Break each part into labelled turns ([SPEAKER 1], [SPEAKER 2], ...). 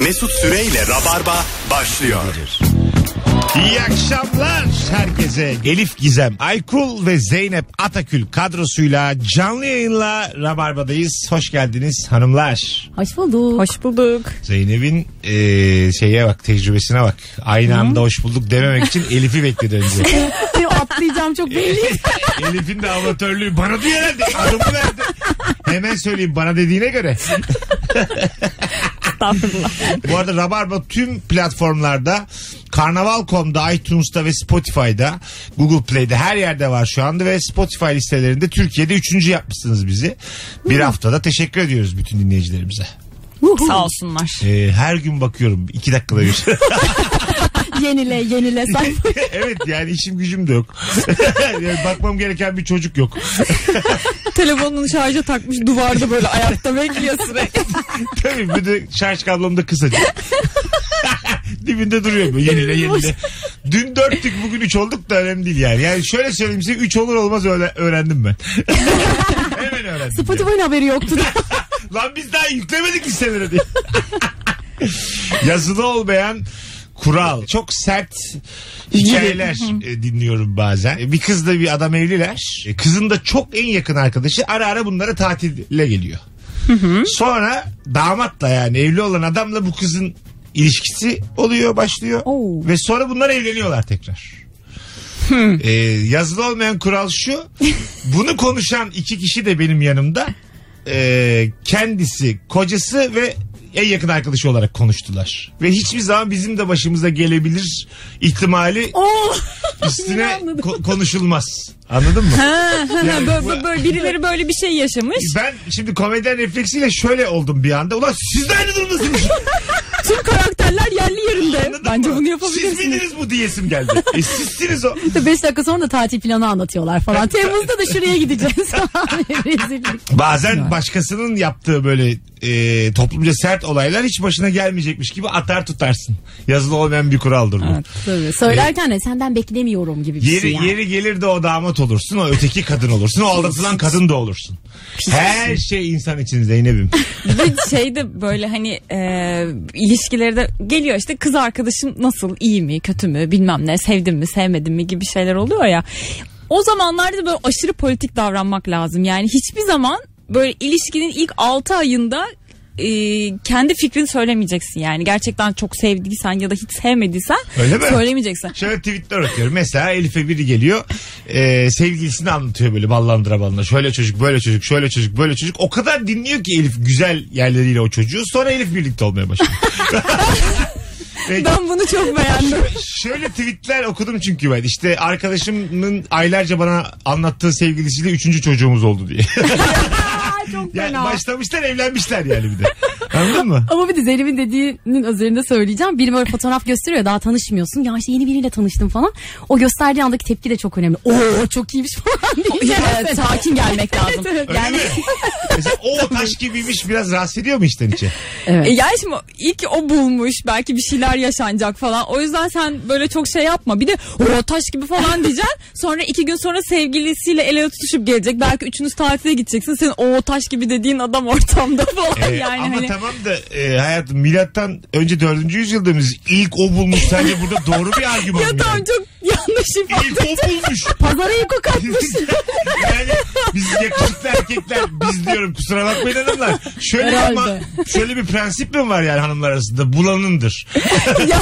[SPEAKER 1] Mesut Süreyle Rabarba başlıyor.
[SPEAKER 2] İyi akşamlar herkese. Elif Gizem Aykul ve Zeynep Atakül kadrosuyla canlı yayınla Rabarba'dayız. Hoş geldiniz hanımlar.
[SPEAKER 3] Hoş bulduk.
[SPEAKER 4] Hoş bulduk.
[SPEAKER 2] Zeynep'in eee, şeye bak tecrübesine bak. Aynı anda hoş bulduk dememek için Elif'i bekledi önce.
[SPEAKER 3] Benim atlayacağım çok belli.
[SPEAKER 2] Elif'in de amatörlüğü bana diyor herhalde. Adamı verdi. Hemen söyleyeyim bana dediğine göre.
[SPEAKER 4] Estağfurullah.
[SPEAKER 2] Bu arada Rabarba tüm platformlarda Karnaval.com'da, iTunes'ta ve Spotify'da, Google Play'de her yerde var şu anda ve Spotify listelerinde Türkiye'de üçüncü yapmışsınız bizi. Bir haftada teşekkür ediyoruz bütün dinleyicilerimize.
[SPEAKER 4] Sağ olsunlar.
[SPEAKER 2] Ee, her gün bakıyorum iki dakikada bir. şey.
[SPEAKER 3] yenile yenile sayfa.
[SPEAKER 2] evet yani işim gücüm de yok. Yani bakmam gereken bir çocuk yok.
[SPEAKER 4] Telefonunu şarja takmış duvarda böyle ayakta bekliyor sürekli.
[SPEAKER 2] Tabii bir de şarj kablom da kısacık. Dibinde duruyor böyle yenile yenile. Dün dörttük bugün üç olduk da önemli değil yani. Yani şöyle söyleyeyim size üç olur olmaz öyle öğrendim ben. Hemen öğrendim.
[SPEAKER 3] Spotify'ın haberi yoktu. da.
[SPEAKER 2] ya. Lan biz daha yüklemedik listeleri diye. Yazılı olmayan kural. Çok sert hikayeler e, dinliyorum bazen. E, Bir kızla bir adam evliler. E, Kızın da çok en yakın arkadaşı ara ara bunlara tatile geliyor. Sonra damatla yani evli olan adamla bu kızın ilişkisi oluyor başlıyor.
[SPEAKER 3] Oo.
[SPEAKER 2] Ve sonra bunlar evleniyorlar tekrar. Ee, yazılı olmayan kural şu. Bunu konuşan iki kişi de benim yanımda. Ee, kendisi, kocası ve en yakın arkadaşı olarak konuştular. Ve hiçbir zaman bizim de başımıza gelebilir ihtimali
[SPEAKER 3] Oo.
[SPEAKER 2] üstüne
[SPEAKER 3] yine anladım.
[SPEAKER 2] ko- konuşulmaz. Anladın mı? Yani
[SPEAKER 4] böyle,
[SPEAKER 2] bu-
[SPEAKER 4] böyle- böyle birileri böyle bir şey yaşamış.
[SPEAKER 2] ben şimdi komedyen refleksiyle şöyle oldum bir anda. Ulan siz de aynı durumdasınız.
[SPEAKER 4] Tüm karakterler yerli yerinde.
[SPEAKER 2] Anladın
[SPEAKER 4] Bence
[SPEAKER 2] mı?
[SPEAKER 4] bunu
[SPEAKER 2] Siz
[SPEAKER 4] yapabilirsiniz.
[SPEAKER 2] bildiniz bu diyesim geldi. e sizsiniz o.
[SPEAKER 3] 5 dakika sonra da tatil planı anlatıyorlar falan. Temmuz'da da şuraya gideceğiz. Rezillik.
[SPEAKER 2] Bazen başkasının yaptığı böyle e, toplumca sert olaylar hiç başına gelmeyecekmiş gibi atar tutarsın. Yazılı olmayan bir kuraldır bu.
[SPEAKER 3] Tabii. Söylerken de senden beklemiyorum gibi bir
[SPEAKER 2] Yeri,
[SPEAKER 3] şey yani.
[SPEAKER 2] yeri gelir de o damat olursun, o öteki kadın olursun, o aldatılan kadın da olursun. Her şey insan için Zeynep'im.
[SPEAKER 4] Ve şey de böyle hani e, ilişkilerde geliyor işte kız arkadaşım nasıl iyi mi kötü mü bilmem ne sevdim mi sevmedim mi gibi şeyler oluyor ya. O zamanlarda böyle aşırı politik davranmak lazım. Yani hiçbir zaman böyle ilişkinin ilk 6 ayında e, kendi fikrini söylemeyeceksin yani. Gerçekten çok sevdiysen ya da hiç sevmediysen
[SPEAKER 2] Öyle mi?
[SPEAKER 4] söylemeyeceksin.
[SPEAKER 2] Şöyle tweetler okuyorum. Mesela Elif'e biri geliyor. e, sevgilisini anlatıyor böyle ballandıra ballandıra. Şöyle çocuk, böyle çocuk, şöyle çocuk, böyle çocuk. O kadar dinliyor ki Elif güzel yerleriyle o çocuğu. Sonra Elif birlikte olmaya başlıyor. Ve
[SPEAKER 4] Ben bunu çok beğendim.
[SPEAKER 2] Şöyle tweetler okudum çünkü ben. İşte arkadaşımın aylarca bana anlattığı sevgilisiyle üçüncü çocuğumuz oldu diye.
[SPEAKER 3] Çok
[SPEAKER 2] Yani
[SPEAKER 3] fena.
[SPEAKER 2] başlamışlar evlenmişler yani bir de. Anladın mı?
[SPEAKER 3] Ama bir de Zeynep'in dediğinin üzerinde söyleyeceğim. Biri böyle fotoğraf gösteriyor daha tanışmıyorsun. Ya işte yeni biriyle tanıştım falan. O gösterdiği andaki tepki de çok önemli. Oo çok iyiymiş falan diye.
[SPEAKER 4] Evet, sakin gelmek lazım.
[SPEAKER 2] Yani... Mesela o taş gibiymiş biraz rahatsız ediyor mu içten içe?
[SPEAKER 4] E yani şimdi ilk o bulmuş belki bir şeyler yaşanacak falan. O yüzden sen böyle çok şey yapma. Bir de o taş gibi falan diyeceksin. Sonra iki gün sonra sevgilisiyle el ele tutuşup gelecek. Belki üçünüz tatile gideceksin. Senin o taş gibi dediğin adam ortamda falan
[SPEAKER 2] Ee,
[SPEAKER 4] yani.
[SPEAKER 2] ama
[SPEAKER 4] Hani,
[SPEAKER 2] tamam da e, hayatım milattan önce 4. yüzyılda biz ilk o bulmuş sence burada doğru bir argüman
[SPEAKER 4] ya
[SPEAKER 2] mı?
[SPEAKER 4] tamam
[SPEAKER 2] yani?
[SPEAKER 4] çok yanlış ifade.
[SPEAKER 2] İlk o bulmuş.
[SPEAKER 3] Pazara yıkık atmış.
[SPEAKER 2] yani biz yakışıklı erkekler biz diyorum kusura bakmayın hanımlar. Şöyle
[SPEAKER 3] Herhalde.
[SPEAKER 2] ama şöyle bir prensip mi var yani hanımlar arasında bulanındır.
[SPEAKER 4] ya,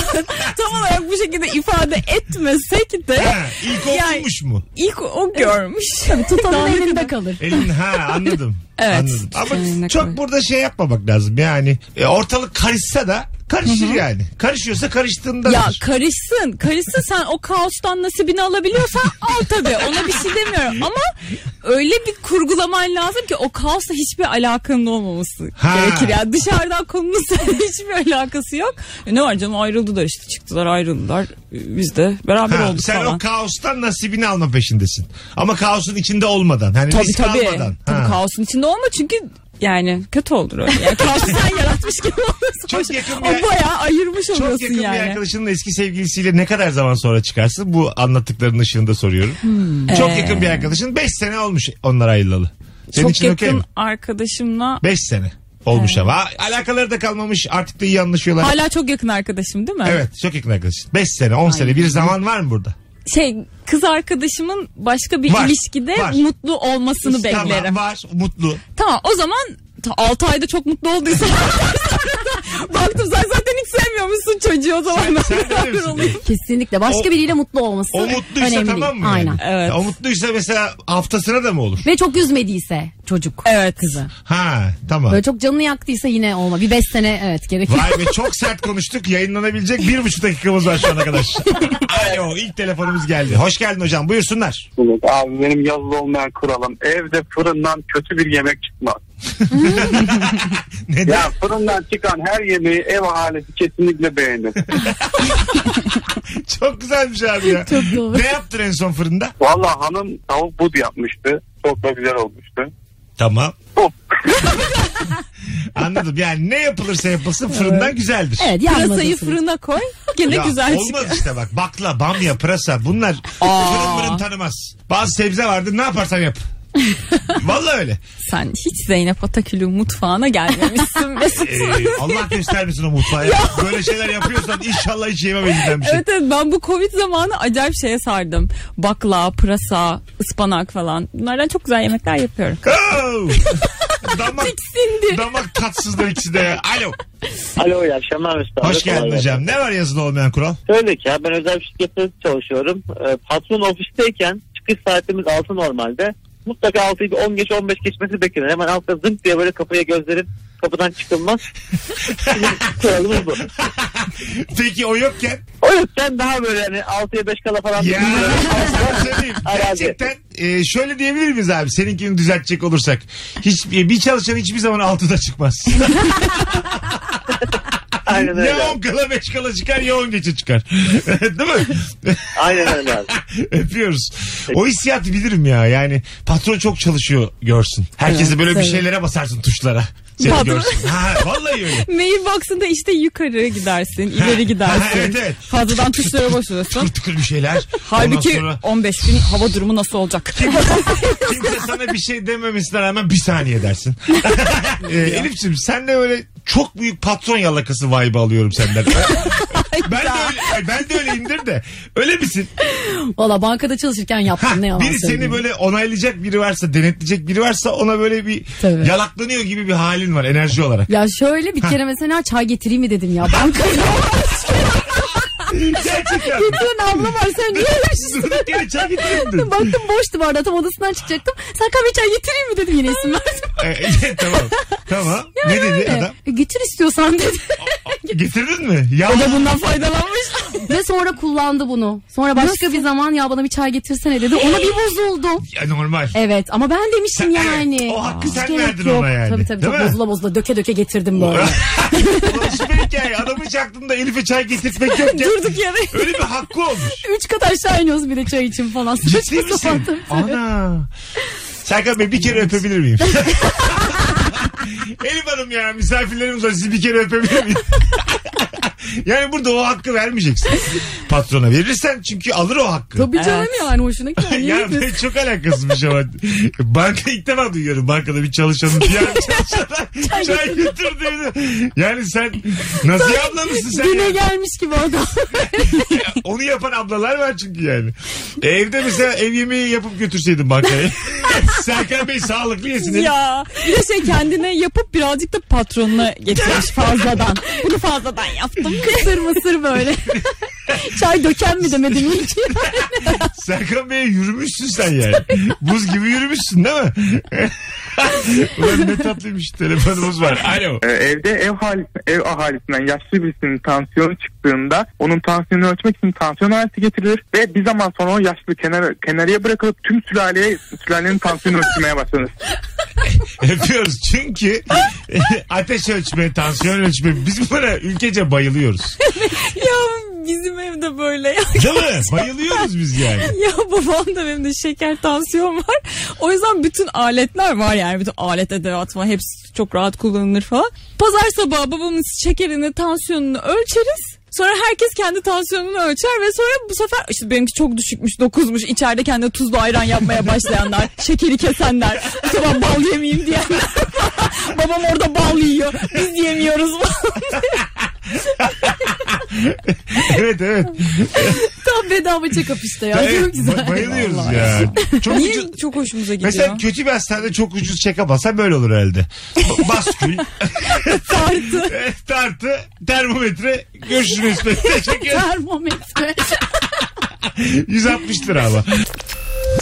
[SPEAKER 4] tam olarak bu şekilde ifade etmesek de
[SPEAKER 2] Ha, ilk o
[SPEAKER 4] Yani-
[SPEAKER 2] bulmuş mu?
[SPEAKER 4] ilk o görmüş.
[SPEAKER 3] Tutanın elinde kalır.
[SPEAKER 2] Elin ha anladım.
[SPEAKER 4] Evet.
[SPEAKER 2] Anladım. Ama
[SPEAKER 4] Seninle
[SPEAKER 2] çok
[SPEAKER 4] kalıyor.
[SPEAKER 2] burada şey yapmamak lazım yani. E, ortalık karışsa da karışır yani. Karışıyorsa karıştığında
[SPEAKER 4] Ya karışsın. Karışsın sen o kaostan nasibini alabiliyorsan al tabii. Ona bir şey demiyorum ama öyle bir kurgulaman lazım ki o kaosla hiçbir alakanın olmaması
[SPEAKER 2] Ha.
[SPEAKER 4] gerekir. Yani dışarıdan konunun seninle hiçbir alakası yok. E ne var canım ayrıldılar işte çıktılar ayrıldılar. E, Biz de beraber
[SPEAKER 2] Ha,
[SPEAKER 4] olduk
[SPEAKER 2] sen
[SPEAKER 4] falan.
[SPEAKER 2] o kaostan nasibini alma peşindesin. Ama kaosun içinde olmadan. Hani
[SPEAKER 4] tabii
[SPEAKER 2] risk
[SPEAKER 4] tabii.
[SPEAKER 2] almadan.
[SPEAKER 4] Tabii
[SPEAKER 2] Ha.
[SPEAKER 4] kaosun içinde olma çünkü yani kötü olur öyle. Yani kaosu sen yaratmış gibi olursun.
[SPEAKER 2] Çok yakın bir-
[SPEAKER 4] O bayağı ayırmış
[SPEAKER 2] Çok
[SPEAKER 4] oluyorsun
[SPEAKER 2] yakın bir
[SPEAKER 4] yani.
[SPEAKER 2] arkadaşının eski sevgilisiyle ne kadar zaman sonra çıkarsın? Bu anlattıklarının ışığında soruyorum. Çok
[SPEAKER 4] Ee.
[SPEAKER 2] yakın bir arkadaşın 5 sene olmuş onlar ayrılalı. Senin
[SPEAKER 4] Çok
[SPEAKER 2] için okey
[SPEAKER 4] yakın
[SPEAKER 2] mi?
[SPEAKER 4] arkadaşımla
[SPEAKER 2] 5 sene. olmuş ama. Alakaları da kalmamış artık da iyi anlaşıyorlar.
[SPEAKER 4] Hala çok yakın arkadaşım değil mi?
[SPEAKER 2] Evet çok yakın arkadaşın. 5 sene 10 sene bir zaman var mı burada?
[SPEAKER 4] Şey kız arkadaşımın başka bir
[SPEAKER 2] Var,
[SPEAKER 4] ilişkide
[SPEAKER 2] var.
[SPEAKER 4] mutlu olmasını beklerim.
[SPEAKER 2] Tamam var mutlu.
[SPEAKER 4] Tamam o zaman 6 ayda çok mutlu olduysa baktım sen zaten hiç sevmiyormuşsun çocuğu o zaman ben
[SPEAKER 2] sen de
[SPEAKER 4] beraber
[SPEAKER 2] misin?
[SPEAKER 4] olayım.
[SPEAKER 3] Kesinlikle. Başka
[SPEAKER 2] O-
[SPEAKER 3] biriyle mutlu olması
[SPEAKER 2] O mutluysa
[SPEAKER 3] önemli değil.
[SPEAKER 2] tamam mı? yani?
[SPEAKER 3] Aynen.
[SPEAKER 4] Evet.
[SPEAKER 2] O mutluysa mesela haftasına da mı olur?
[SPEAKER 3] Ve çok üzmediyse çocuk
[SPEAKER 4] Evet.
[SPEAKER 3] kızı.
[SPEAKER 2] Ha tamam.
[SPEAKER 3] Böyle çok canını yaktıysa yine olma. Bir beş sene evet gerekiyor.
[SPEAKER 2] Vay be çok sert konuştuk. Yayınlanabilecek bir buçuk dakikamız var şu ana kadar. Alo ilk telefonumuz geldi. Hoş geldin hocam buyursunlar.
[SPEAKER 5] Evet, abi benim yazılı olmayan kuralım evde fırından kötü bir yemek çıkmaz.
[SPEAKER 2] Neden?
[SPEAKER 5] Ya fırından çıkan her yemeği ev ahalisi kesinlikle beğenir.
[SPEAKER 2] Çok güzelmiş abi ya.
[SPEAKER 3] Çok doğru.
[SPEAKER 2] Ne yaptın en son fırında?
[SPEAKER 5] Valla hanım tavuk bud yapmıştı. Çok da güzel olmuştu.
[SPEAKER 2] Tamam.
[SPEAKER 5] Hop.
[SPEAKER 2] Anladım yani ne yapılırsa yapılsın fırından güzeldir.
[SPEAKER 3] Evet
[SPEAKER 4] Pırasayı
[SPEAKER 3] yanmasın.
[SPEAKER 4] fırına koy gene
[SPEAKER 2] Ya,
[SPEAKER 4] güzel
[SPEAKER 2] olmaz
[SPEAKER 4] çıkar.
[SPEAKER 2] işte bak bakla bamya pırasa bunlar fırın fırın tanımaz. Bazı sebze vardır ne yaparsan yap. Vallahi öyle.
[SPEAKER 4] Sen hiç Zeynep Atakül'ün mutfağına gelmemişsin Mesut.
[SPEAKER 2] Ee, Allah göstermesin o mutfağı. ya. Böyle şeyler yapıyorsan inşallah hiç yemem elinden bir şey.
[SPEAKER 4] Evet evet ben bu Covid zamanı acayip şeye sardım. Bakla, pırasa, ıspanak falan. Bunlardan çok güzel yemekler yapıyorum.
[SPEAKER 2] Oh! damak,
[SPEAKER 4] Tiksindi.
[SPEAKER 2] damak tatsızlar ikisi de. ya. Alo.
[SPEAKER 6] Alo iyi akşamlar Mesut abi.
[SPEAKER 2] Hoş
[SPEAKER 6] Kolay
[SPEAKER 2] geldin
[SPEAKER 6] gelsin.
[SPEAKER 2] hocam. Ne var yazılı olmayan kural?
[SPEAKER 6] Şöyle ki ya ben özel bir şirkette çalışıyorum. Ee, patron ofisteyken çıkış saatimiz 6 normalde. Mutlaka 6'yı bir 10 geç 15 geçmesi beklenir. Hemen altta zınk diye böyle kafaya gözlerin kapıdan çıkılmaz. Bizim kuralımız bu.
[SPEAKER 2] Peki o yokken
[SPEAKER 6] O yüzden daha böyle hani 6'ya 5 kala falan.
[SPEAKER 2] Ya sana söyleyeyim.
[SPEAKER 6] Herhalde.
[SPEAKER 2] Gerçekten e, şöyle diyebilir miyiz abi? Seninkini düzeltecek olursak. Hiç, e, bir çalışan hiçbir zaman altıda çıkmaz.
[SPEAKER 6] Aynen öyle.
[SPEAKER 2] ya on kala beş kala çıkar ya on geçe çıkar. Değil mi?
[SPEAKER 6] Aynen öyle abi.
[SPEAKER 2] Öpüyoruz. O hissiyatı bilirim ya. Yani patron çok çalışıyor görsün. Herkesi böyle bir şeylere basarsın tuşlara. Seni
[SPEAKER 4] Patron.
[SPEAKER 2] görsün. Ha, vallahi öyle.
[SPEAKER 4] Mailbox'ında işte yukarı gidersin, ileri
[SPEAKER 2] Ha,
[SPEAKER 4] gidersin.
[SPEAKER 2] evet, evet.
[SPEAKER 4] Fazladan tuşlara basıyorsun.
[SPEAKER 2] Tıkır tıkır bir şeyler.
[SPEAKER 4] Halbuki
[SPEAKER 2] Ondan sonra
[SPEAKER 4] 15 gün hava durumu nasıl olacak?
[SPEAKER 2] kimse sana bir şey dememesine rağmen bir saniye dersin. ee, Elif'ciğim sen de öyle çok büyük patron yalakası vibe alıyorum senden. ben de öyle, ben de öyleyimdir de. Öyle misin?
[SPEAKER 3] Valla bankada çalışırken
[SPEAKER 2] Ha,
[SPEAKER 3] yaptım ne yalan
[SPEAKER 2] biri seni
[SPEAKER 3] söyleyeyim.
[SPEAKER 2] böyle onaylayacak biri varsa, denetleyecek biri varsa ona böyle bir
[SPEAKER 3] Tabii.
[SPEAKER 2] yalaklanıyor gibi bir halin var enerji olarak.
[SPEAKER 3] Ya şöyle bir kere mesela çay getireyim mi dedim ya. Bankada
[SPEAKER 2] Gerçekten.
[SPEAKER 3] Dün abla var sen niye uğraşıyorsun?
[SPEAKER 2] Durduk yere çay getirdin.
[SPEAKER 3] Baktım boştu bardağı tam odasından çıkacaktım. Sen kahve çay getireyim mi dedim yine isim verdim.
[SPEAKER 2] Ee, tamam. Tamam. ne dedi adam?
[SPEAKER 3] E, Getir istiyorsan dedi.
[SPEAKER 2] Getirdin mi? Ya
[SPEAKER 4] Bundan faydalanmış.
[SPEAKER 3] Ve sonra kullandı bunu. Sonra başka bir zaman ya bana bir çay getirsene dedi. Ona bir bozuldum.
[SPEAKER 2] Ya normal.
[SPEAKER 3] Evet ama ben demişim
[SPEAKER 2] Sen-
[SPEAKER 3] yani.
[SPEAKER 2] evet, o hakkı
[SPEAKER 3] Hiç
[SPEAKER 2] sen
[SPEAKER 3] gerek
[SPEAKER 2] verdin ona yani.
[SPEAKER 3] Tabii tabii
[SPEAKER 2] Değil
[SPEAKER 3] çok
[SPEAKER 2] mi?
[SPEAKER 3] bozula bozula döke döke getirdim böyle.
[SPEAKER 2] Ulan süper hikaye. Adamı çaktın da Elif'e çay getirtmek yokken.
[SPEAKER 4] Durduk yere.
[SPEAKER 2] Öyle bir hakkı olmuş.
[SPEAKER 3] Üç kat aşağı iniyoruz bir de çay için falan.
[SPEAKER 2] Ciddi
[SPEAKER 3] Saçma sapan
[SPEAKER 2] misin?
[SPEAKER 3] tabii.
[SPEAKER 2] Ana. Serkan Bey bir kere öpebilir miyim? Elif Hanım ya misafirlerimiz var sizi bir kere öpebilir miyim? yani burada o hakkı vermeyeceksin. Patrona verirsen çünkü alır o hakkı.
[SPEAKER 3] Tabii canım yani hoşuna gider. Niye
[SPEAKER 2] Ya
[SPEAKER 3] gitmesin?
[SPEAKER 2] ben çok alakasız bir şey var. Banka ilk defa duyuyorum. Bankada bir çalışanın bir yer çalışana çay götürdüğünü. Yani sen nasıl abla mısın sen?
[SPEAKER 3] Güne
[SPEAKER 2] ya?
[SPEAKER 3] gelmiş gibi adam.
[SPEAKER 2] Onu yapan ablalar var çünkü yani. Evde mesela ev yemeği yapıp götürseydin bankaya. Serkan Bey sağlıklı yesin.
[SPEAKER 4] ya bir de şey kendine yapıp birazcık da patronuna getirmiş fazladan. Bunu fazladan yaptım.
[SPEAKER 3] Kısır mısır böyle. çay döken mi demedim hiç.
[SPEAKER 2] Serkan Bey'e yürümüşsün sen yani. Buz gibi yürümüşsün değil mi? Ulan ne tatlıymış telefonumuz var. Alo.
[SPEAKER 7] Ee, evde ev, halis, ev ahalisinden yaşlı birisinin tansiyonu çıktığında onun tansiyonunu ölçmek için tansiyon aleti getirilir ve bir zaman sonra o yaşlı kenara, kenarıya bırakılıp tüm sülaleye sülalenin tansiyonunu ölçmeye başlanır.
[SPEAKER 2] Yapıyoruz çünkü ateş ölçme, tansiyon ölçme biz buna ülkece bayılıyoruz.
[SPEAKER 4] ya bizim evde böyle ya.
[SPEAKER 2] Değil mi? Bayılıyoruz biz yani.
[SPEAKER 4] Ya babam da benim de şeker tansiyon var. O yüzden bütün aletler var yani. Bütün alet edevat var. Hepsi çok rahat kullanılır falan. Pazar sabahı babamın şekerini, tansiyonunu ölçeriz. Sonra herkes kendi tansiyonunu ölçer ve sonra bu sefer işte benimki çok düşükmüş dokuzmuş içeride kendi tuzlu ayran yapmaya başlayanlar şekeri kesenler bu sabah bal yemeyeyim diyenler babam orada bal yiyor biz yemiyoruz
[SPEAKER 2] evet evet.
[SPEAKER 3] Tam bedava check-up işte ya.
[SPEAKER 2] Evet,
[SPEAKER 3] Çok güzel.
[SPEAKER 2] ba- bayılıyoruz
[SPEAKER 3] Vallahi.
[SPEAKER 2] ya. Çok
[SPEAKER 4] niye
[SPEAKER 2] ucuz-
[SPEAKER 4] çok hoşumuza gidiyor
[SPEAKER 2] Mesela kötü bir hastanede çok ucuz check-up alsan böyle olur herhalde. Ba- Baskül,
[SPEAKER 4] Tartı.
[SPEAKER 2] tartı, termometre, görüşürüz mesleği. Teşekkür ederim.
[SPEAKER 3] Termometre.
[SPEAKER 2] 160 lira ama.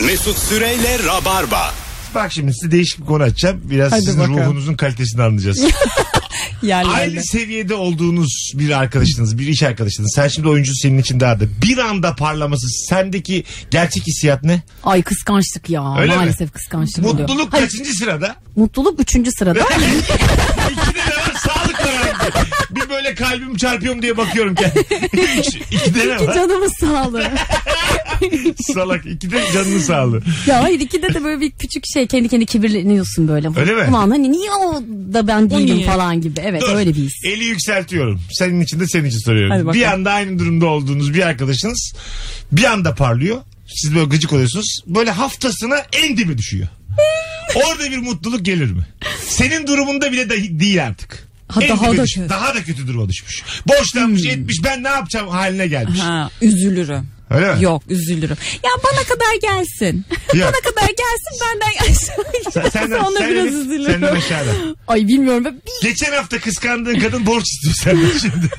[SPEAKER 1] Mesut Süreyle Rabarba.
[SPEAKER 2] Bak şimdi size değişik bir konu açacağım. Biraz
[SPEAKER 4] Hadi
[SPEAKER 2] sizin
[SPEAKER 4] bakalım.
[SPEAKER 2] ruhunuzun kalitesini anlayacağız.
[SPEAKER 4] yerlerde.
[SPEAKER 2] Aynı seviyede olduğunuz bir arkadaşınız, bir iş arkadaşınız. Sen şimdi oyuncu senin için daha da. Bir anda parlaması sendeki gerçek hissiyat ne?
[SPEAKER 3] Ay kıskançlık ya.
[SPEAKER 2] Öyle mi?
[SPEAKER 3] Maalesef kıskançlık oluyor.
[SPEAKER 2] Mutluluk
[SPEAKER 3] Hayır,
[SPEAKER 2] kaçıncı sırada?
[SPEAKER 3] mutluluk üçüncü sırada.
[SPEAKER 2] İkide ne var? Sağlık var. abi. Bir böyle kalbim çarpıyorum diye bakıyorum kendim. Üç, İkide ne
[SPEAKER 3] İki
[SPEAKER 2] var?
[SPEAKER 3] canımız sağlığı.
[SPEAKER 2] Salak. İkide canını sağlığı.
[SPEAKER 3] ya hayır ikide de böyle bir küçük şey kendi kendi kibirleniyorsun böyle.
[SPEAKER 2] Öyle mi?
[SPEAKER 3] Ulan hani niye o da ben değilim
[SPEAKER 4] niye?
[SPEAKER 3] falan gibi. Evet
[SPEAKER 2] Dur.
[SPEAKER 3] öyle bir his.
[SPEAKER 2] Eli yükseltiyorum. Senin için de senin için
[SPEAKER 4] Hadi
[SPEAKER 2] soruyorum.
[SPEAKER 4] bakalım.
[SPEAKER 2] Bir anda aynı durumda olduğunuz bir arkadaşınız bir anda parlıyor. Siz böyle gıcık oluyorsunuz. Böyle haftasına en dibe düşüyor. Orada bir mutluluk gelir mi? Senin durumunda bile de değil artık.
[SPEAKER 4] Ha,
[SPEAKER 2] En
[SPEAKER 4] daha
[SPEAKER 2] dibe
[SPEAKER 4] da
[SPEAKER 2] düş-
[SPEAKER 4] kötü. Hmm.
[SPEAKER 2] daha da kötü duruma düşmüş. Borçlanmış etmiş ben ne yapacağım haline gelmiş.
[SPEAKER 4] Ha, üzülürüm.
[SPEAKER 2] Öyle mi?
[SPEAKER 4] Yok üzülürüm. Ya bana kadar gelsin.
[SPEAKER 2] Yok.
[SPEAKER 4] bana kadar gelsin benden aşağı.
[SPEAKER 2] Sen, senden,
[SPEAKER 4] Sonra
[SPEAKER 2] senden-
[SPEAKER 4] biraz üzülürüm.
[SPEAKER 2] senden aşağıda.
[SPEAKER 3] Ay bilmiyorum. ben bir-
[SPEAKER 2] Geçen hafta kıskandığın kadın borç istiyor senden şimdi.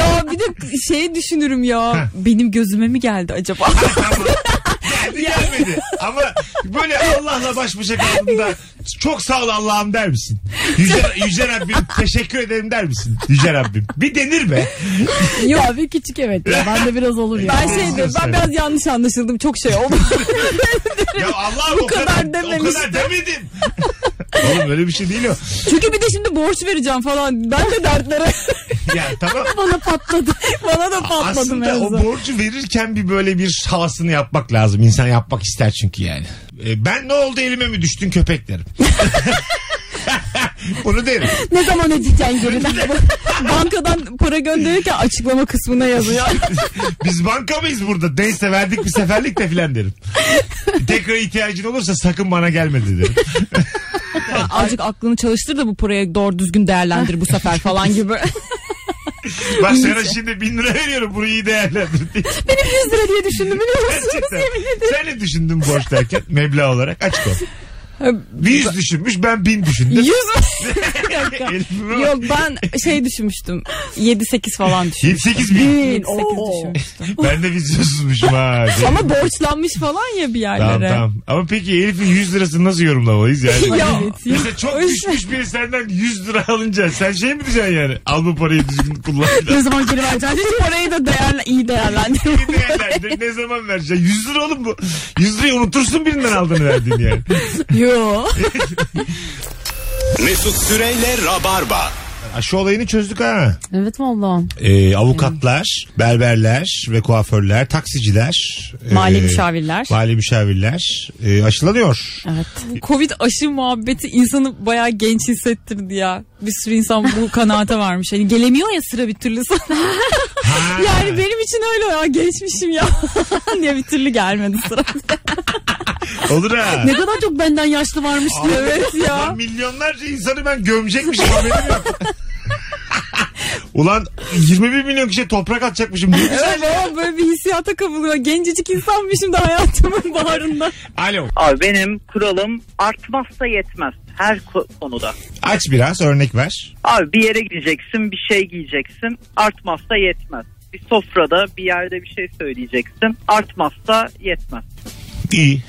[SPEAKER 4] ya bir de şey düşünürüm ya. benim gözüme mi geldi acaba?
[SPEAKER 2] Tamam. Geldi gelmedi. Ama böyle Allah'la baş başa kaldığında çok sağ ol Allah'ım der misin? Yüce, Yüce Rabbim teşekkür ederim der misin? Yüce Rabbim. Bir denir be.
[SPEAKER 3] Ya bir küçük evet ya. Bende biraz olur ya.
[SPEAKER 4] ben şey diyorum, ben biraz yanlış anlaşıldım. Çok şey oldu.
[SPEAKER 2] Ya Allah'ım
[SPEAKER 4] Bu
[SPEAKER 2] o
[SPEAKER 4] kadar
[SPEAKER 2] kadar, o
[SPEAKER 4] dememiştim.
[SPEAKER 2] kadar demedim. Oğlum öyle bir şey değil o.
[SPEAKER 4] Çünkü bir de şimdi borç vereceğim falan. Ben de dertlere
[SPEAKER 2] Ya tamam.
[SPEAKER 3] bana patladı.
[SPEAKER 4] bana da patladı
[SPEAKER 2] Aslında o
[SPEAKER 4] mevzu.
[SPEAKER 2] borcu verirken bir böyle bir havasını yapmak lazım. İnsan yapmak ister çünkü yani. E, ben ne oldu elime mi düştün köpek derim. Onu derim.
[SPEAKER 3] Ne zaman ödeyeceksin geri?
[SPEAKER 4] Bankadan para gönderirken açıklama kısmına yazıyor.
[SPEAKER 2] Biz banka mıyız burada? Neyse verdik bir seferlik de filan derim. Tekrar ihtiyacın olursa sakın bana gelmedi derim.
[SPEAKER 4] Azıcık aklını çalıştır da bu parayı doğru düzgün değerlendir bu sefer falan gibi.
[SPEAKER 2] Bak sana şimdi bin lira veriyorum bunu iyi değerlendir diye.
[SPEAKER 3] 100 lira diye düşündüm biliyor musunuz?
[SPEAKER 2] Gerçekten. Sen ne düşündün borç derken? Meblağ olarak açık ol. Bir yüz düşünmüş ben bin düşündüm.
[SPEAKER 4] Yüz Bir dakika.
[SPEAKER 2] Elif'ime bak.
[SPEAKER 4] Yok ben şey düşünmüştüm. 7-8 falan düşünmüştüm.
[SPEAKER 2] 7-8 bin.
[SPEAKER 4] 8 düşünmüştüm.
[SPEAKER 2] Ben de vizyonsuzmuşum ha.
[SPEAKER 4] Ama borçlanmış falan ya bir yerlere.
[SPEAKER 2] Tamam tamam. Ama peki Elif'in 100 lirasını nasıl yorumlamalıyız yani?
[SPEAKER 4] Ya.
[SPEAKER 2] Mesela çok
[SPEAKER 4] Öyle.
[SPEAKER 2] düşmüş biri senden 100 lira alınca sen şey mi diyeceksin yani? Al bu parayı düzgün kullan.
[SPEAKER 4] Ne zaman geri vereceğim? Şu parayı da değerle, iyi değerlendir.
[SPEAKER 2] Bir değerlendir. ne zaman vereceksin? 100 lira oğlum bu. 100 lirayı unutursun birinden aldığını verdiğini yani.
[SPEAKER 4] Yo.
[SPEAKER 1] Mesut Süreyle Rabarba.
[SPEAKER 2] Aşı olayını çözdük ha.
[SPEAKER 3] Evet vallahi.
[SPEAKER 2] Ee, avukatlar, berberler ve kuaförler, taksiciler.
[SPEAKER 4] Mali
[SPEAKER 2] ee,
[SPEAKER 4] müşavirler.
[SPEAKER 2] Mali müşavirler ee, aşılanıyor.
[SPEAKER 3] Evet.
[SPEAKER 4] Covid aşı muhabbeti insanı bayağı genç hissettirdi ya. Bir sürü insan bu kanaate varmış. Hani gelemiyor ya sıra bir türlü sana.
[SPEAKER 2] Ha.
[SPEAKER 4] Yani benim için öyle ya geçmişim ya. Niye bir türlü gelmedi sıra.
[SPEAKER 2] Olur ha.
[SPEAKER 3] Ne kadar çok benden yaşlı varmış diye.
[SPEAKER 4] evet ya.
[SPEAKER 2] Lan milyonlarca insanı ben gömecekmişim haberim yok. Ulan 21 milyon kişiye toprak atacakmışım. şey. Ne güzel.
[SPEAKER 4] Evet ama böyle bir hissiyata kapılıyor. Gencecik insanmışım da hayatımın baharında.
[SPEAKER 2] Alo.
[SPEAKER 6] Abi benim kuralım artmazsa yetmez her ko- konuda.
[SPEAKER 2] Aç biraz örnek ver.
[SPEAKER 6] Abi bir yere gideceksin bir şey giyeceksin artmazsa yetmez. Bir sofrada bir yerde bir şey söyleyeceksin artmazsa yetmez.
[SPEAKER 2] İyi.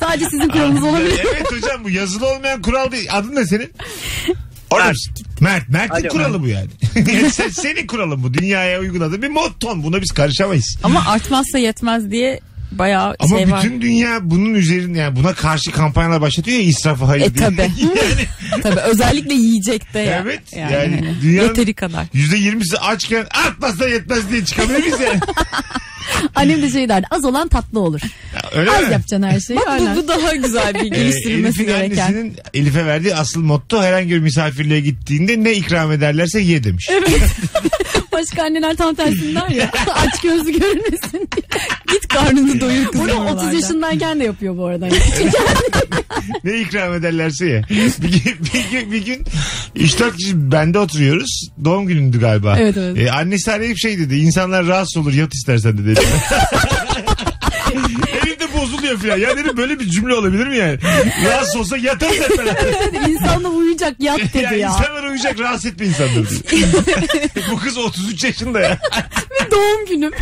[SPEAKER 3] Sadece sizin kuralınız olabilir.
[SPEAKER 2] evet hocam bu yazılı olmayan kural değil. Adın ne senin? Orada mısın? Mert. Mert'in
[SPEAKER 6] Alo,
[SPEAKER 2] kuralı bu yani. Sen, senin kuralın bu. Dünyaya uyguladığın bir motton. Buna biz karışamayız.
[SPEAKER 4] Ama artmazsa yetmez diye bayağı
[SPEAKER 2] Ama
[SPEAKER 4] şey var.
[SPEAKER 2] bütün dünya bunun üzerine yani buna karşı kampanyalar başlatıyor ya israfa hayır
[SPEAKER 4] E
[SPEAKER 2] diye.
[SPEAKER 4] tabi. tabi özellikle yiyecekte ya.
[SPEAKER 2] Evet, yani
[SPEAKER 3] hani
[SPEAKER 2] dünyanın-
[SPEAKER 4] Yeteri kadar.
[SPEAKER 2] %20'si açken artmazsa yetmez diye çıkabilir miyiz yani?
[SPEAKER 3] Annem de şey derdi az olan tatlı olur.
[SPEAKER 2] Öyle
[SPEAKER 3] Az
[SPEAKER 2] mi?
[SPEAKER 3] yapacaksın her şeyi.
[SPEAKER 4] Bak
[SPEAKER 3] aynen.
[SPEAKER 4] bu, bu daha güzel bir
[SPEAKER 2] Ee,
[SPEAKER 4] geliştirilmesi
[SPEAKER 2] Elif'in
[SPEAKER 4] gereken.
[SPEAKER 2] annesinin Elif'e verdiği asıl motto herhangi bir misafirliğe gittiğinde ne ikram ederlerse ye demiş.
[SPEAKER 3] başka anneler tam tersin der ya. Aç gözlü görünmesin diye. Git
[SPEAKER 2] Ee,
[SPEAKER 3] karnını doyur kızım. Bunu 30 yaşındayken de yapıyor bu arada.
[SPEAKER 2] ne ikram ederlerse ya. Bir gün, bir gün, bir gün 3-4 kişi bende oturuyoruz. Doğum günündü galiba.
[SPEAKER 3] Evet, evet.
[SPEAKER 2] E, annesi arayıp şey dedi. İnsanlar rahatsız olur yat istersen de dedi. Elimde bozuluyor filan. Ya dedim böyle bir cümle olabilir mi yani? Rahatsız olsa yatar hep beraber.
[SPEAKER 3] İnsan da uyuyacak yat
[SPEAKER 2] Ya
[SPEAKER 3] dedi ya.
[SPEAKER 2] insanlar uyuyacak rahatsız etme insanları diyor. Bu kız 33 yaşında ya.
[SPEAKER 3] Doğum günüm.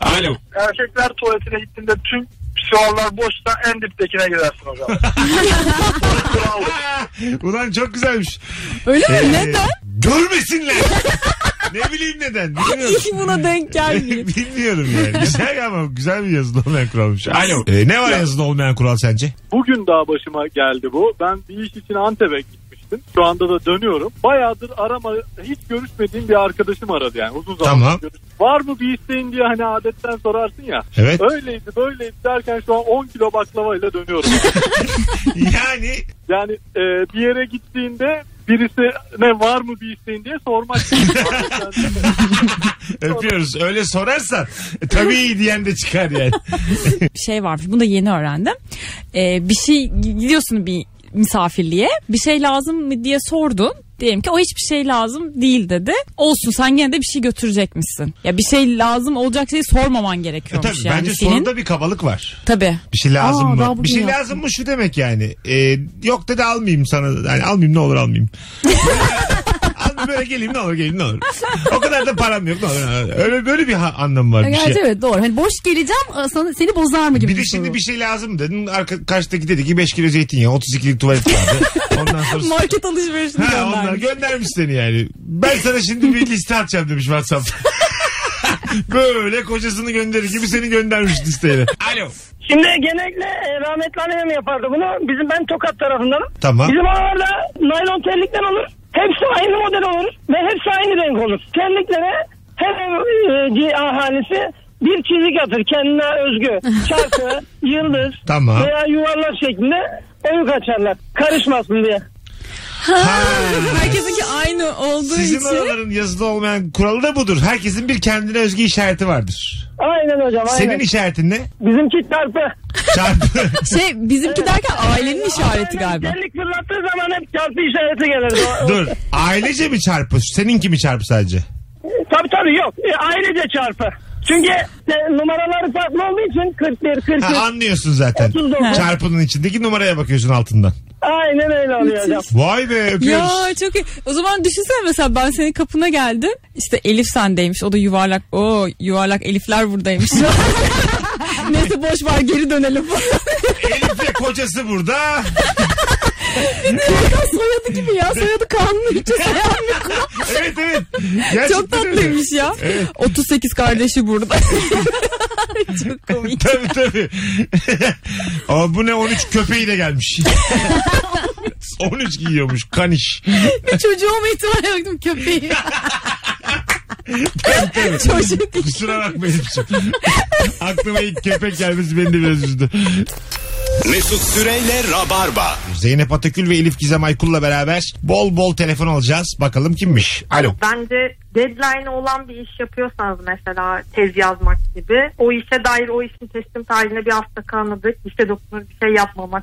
[SPEAKER 2] Alo.
[SPEAKER 8] Erkekler tuvaletine gittiğinde tüm pisuarlar boşsa en diptekine girersin hocam. Bravo.
[SPEAKER 2] Ulan çok güzelmiş.
[SPEAKER 3] Öyle mi?
[SPEAKER 2] Ee,
[SPEAKER 3] Neden?
[SPEAKER 2] Görmesinler. ne bileyim neden. Bilmiyorum.
[SPEAKER 4] Hiç buna denk gelmiyor.
[SPEAKER 2] Bilmiyorum yani. Güzel ama güzel bir yazılı olmayan kuralmış. Alo. Ee, ne var yazılı olmayan kural sence?
[SPEAKER 8] Bugün daha başıma geldi bu. Ben bir iş için Antep'e gitmiştim. Şu anda da dönüyorum. Bayağıdır arama hiç görüşmediğim bir arkadaşım aradı yani uzun zamandır.
[SPEAKER 2] Tamam.
[SPEAKER 8] görüş- Var mı bir isteğin diye hani adetten sorarsın ya.
[SPEAKER 2] Evet.
[SPEAKER 8] Öyleydi böyleydi derken şu an 10 kilo baklavayla dönüyorum.
[SPEAKER 2] Yani
[SPEAKER 8] yani e, bir yere gittiğinde birisi ne var mı bir isteğin diye sormak.
[SPEAKER 2] öpüyoruz. Öyle sorarsan e, tabii diyen de çıkar yani.
[SPEAKER 4] bir şey varmış. Bunu da yeni öğrendim. Ee, bir şey gidiyorsun bir misafirliğe. Bir şey lazım mı diye sordun. Diyelim ki o hiçbir şey lazım değil dedi. Olsun sen gene de bir şey götürecekmişsin. Ya bir şey lazım olacak şeyi sormaman gerekiyormuş
[SPEAKER 2] E, Tabii
[SPEAKER 4] yani
[SPEAKER 2] bence
[SPEAKER 4] senin.
[SPEAKER 2] soruda bir kabalık var.
[SPEAKER 4] Tabii.
[SPEAKER 2] Bir şey lazım
[SPEAKER 3] Aa, daha
[SPEAKER 2] mı?
[SPEAKER 3] bugün
[SPEAKER 2] Bir şey
[SPEAKER 3] yaptım.
[SPEAKER 2] lazım mı şu demek yani. Ee, yok dedi almayayım sana. Yani almayayım ne olur almayayım. Almayayım, böyle geleyim ne olur geleyim ne olur. O kadar da param yok ne olur. ne olur. Öyle böyle bir ha- anlamı var bir
[SPEAKER 3] Gerçi
[SPEAKER 2] şey.
[SPEAKER 3] evet doğru. Hani boş geleceğim sana, seni bozar mı gibi
[SPEAKER 2] Bir de şimdi bir şey lazım dedin. Arka, karşıdaki dedi ki 5 kilo zeytinyağı 32'lik tuvalet kağıdı. Ondan sonra
[SPEAKER 4] Market alışverişini
[SPEAKER 2] şey- Ha onlar
[SPEAKER 4] göndermiş.
[SPEAKER 2] göndermiş seni yani. Ben sana şimdi bir liste atacağım demiş WhatsApp. Böyle kocasını gönderir gibi seni göndermiş listeyle. Alo.
[SPEAKER 9] Şimdi genellikle e, rahmetli annem yapardı bunu. Bizim ben Tokat tarafındanım.
[SPEAKER 2] Tamam.
[SPEAKER 9] Bizim oralarda naylon terlikler olur. Hepsi aynı model olur ve hepsi aynı renk olur. Terliklere her ev e, ahalisi bir çizik atır kendine özgü. Çarpı, yıldız
[SPEAKER 2] Tamam.
[SPEAKER 9] veya yuvarlak şeklinde oyuk açarlar. Karışmasın diye.
[SPEAKER 4] Herkesinki aynı olduğu
[SPEAKER 2] Sizin
[SPEAKER 4] için.
[SPEAKER 2] oraların yazılı olmayan kuralı da budur. Herkesin bir kendine özgü işareti vardır.
[SPEAKER 9] Aynen hocam aynen.
[SPEAKER 2] Senin işaretin ne?
[SPEAKER 9] Bizimki çarpı.
[SPEAKER 2] Çarpı.
[SPEAKER 4] Şey bizimki derken ailenin işareti
[SPEAKER 9] Aynen,
[SPEAKER 4] galiba.
[SPEAKER 9] Terlik fırlattığı zaman hep çarpı işareti gelirdi. O-
[SPEAKER 2] Dur. Ailece mi çarpı? Seninki mi çarpı sadece?
[SPEAKER 9] Tabii tabii yok. E, ailece çarpı. Çünkü e, numaraları farklı olduğu için 41, 43.
[SPEAKER 2] Ha, anlıyorsun zaten.
[SPEAKER 9] Otuz dokuz.
[SPEAKER 2] Çarpının içindeki numaraya bakıyorsun altından.
[SPEAKER 9] Aynen öyle oluyor hocam.
[SPEAKER 2] Vay be
[SPEAKER 4] Ya
[SPEAKER 2] öpüyoruz.
[SPEAKER 4] çok iyi. O zaman düşünsene mesela ben senin kapına geldim. İşte Elif sendeymiş. O da yuvarlak. O yuvarlak Elifler buradaymış. Neyse boş var geri dönelim.
[SPEAKER 2] Elif'le kocası burada.
[SPEAKER 4] soyadı gibi ya. Soyadı kanlı. Hiç
[SPEAKER 2] Evet evet. Gerçekten
[SPEAKER 4] Çok
[SPEAKER 2] öyle.
[SPEAKER 4] tatlıymış ya. 38 kardeşi burada. çok komik.
[SPEAKER 2] tabii tabii. Ama bu ne 13 köpeğiyle gelmiş. 13 giyiyormuş kaniş.
[SPEAKER 3] bir çocuğu mu ihtimal yoktum köpeği.
[SPEAKER 4] Çocuk.
[SPEAKER 2] Kusura bakmayın. Aklıma ilk köpek gelmesi beni de biraz üzdü.
[SPEAKER 1] Mesut Süreyle Rabarba.
[SPEAKER 2] Zeynep Atakül ve Elif Gizem Aykul'la beraber bol bol telefon alacağız. Bakalım kimmiş? Alo.
[SPEAKER 10] Bence deadline olan bir iş yapıyorsanız mesela tez yazmak gibi o işe dair o işin teslim tarihine bir hafta kalmadık. İşe dokunur bir şey yapmamak.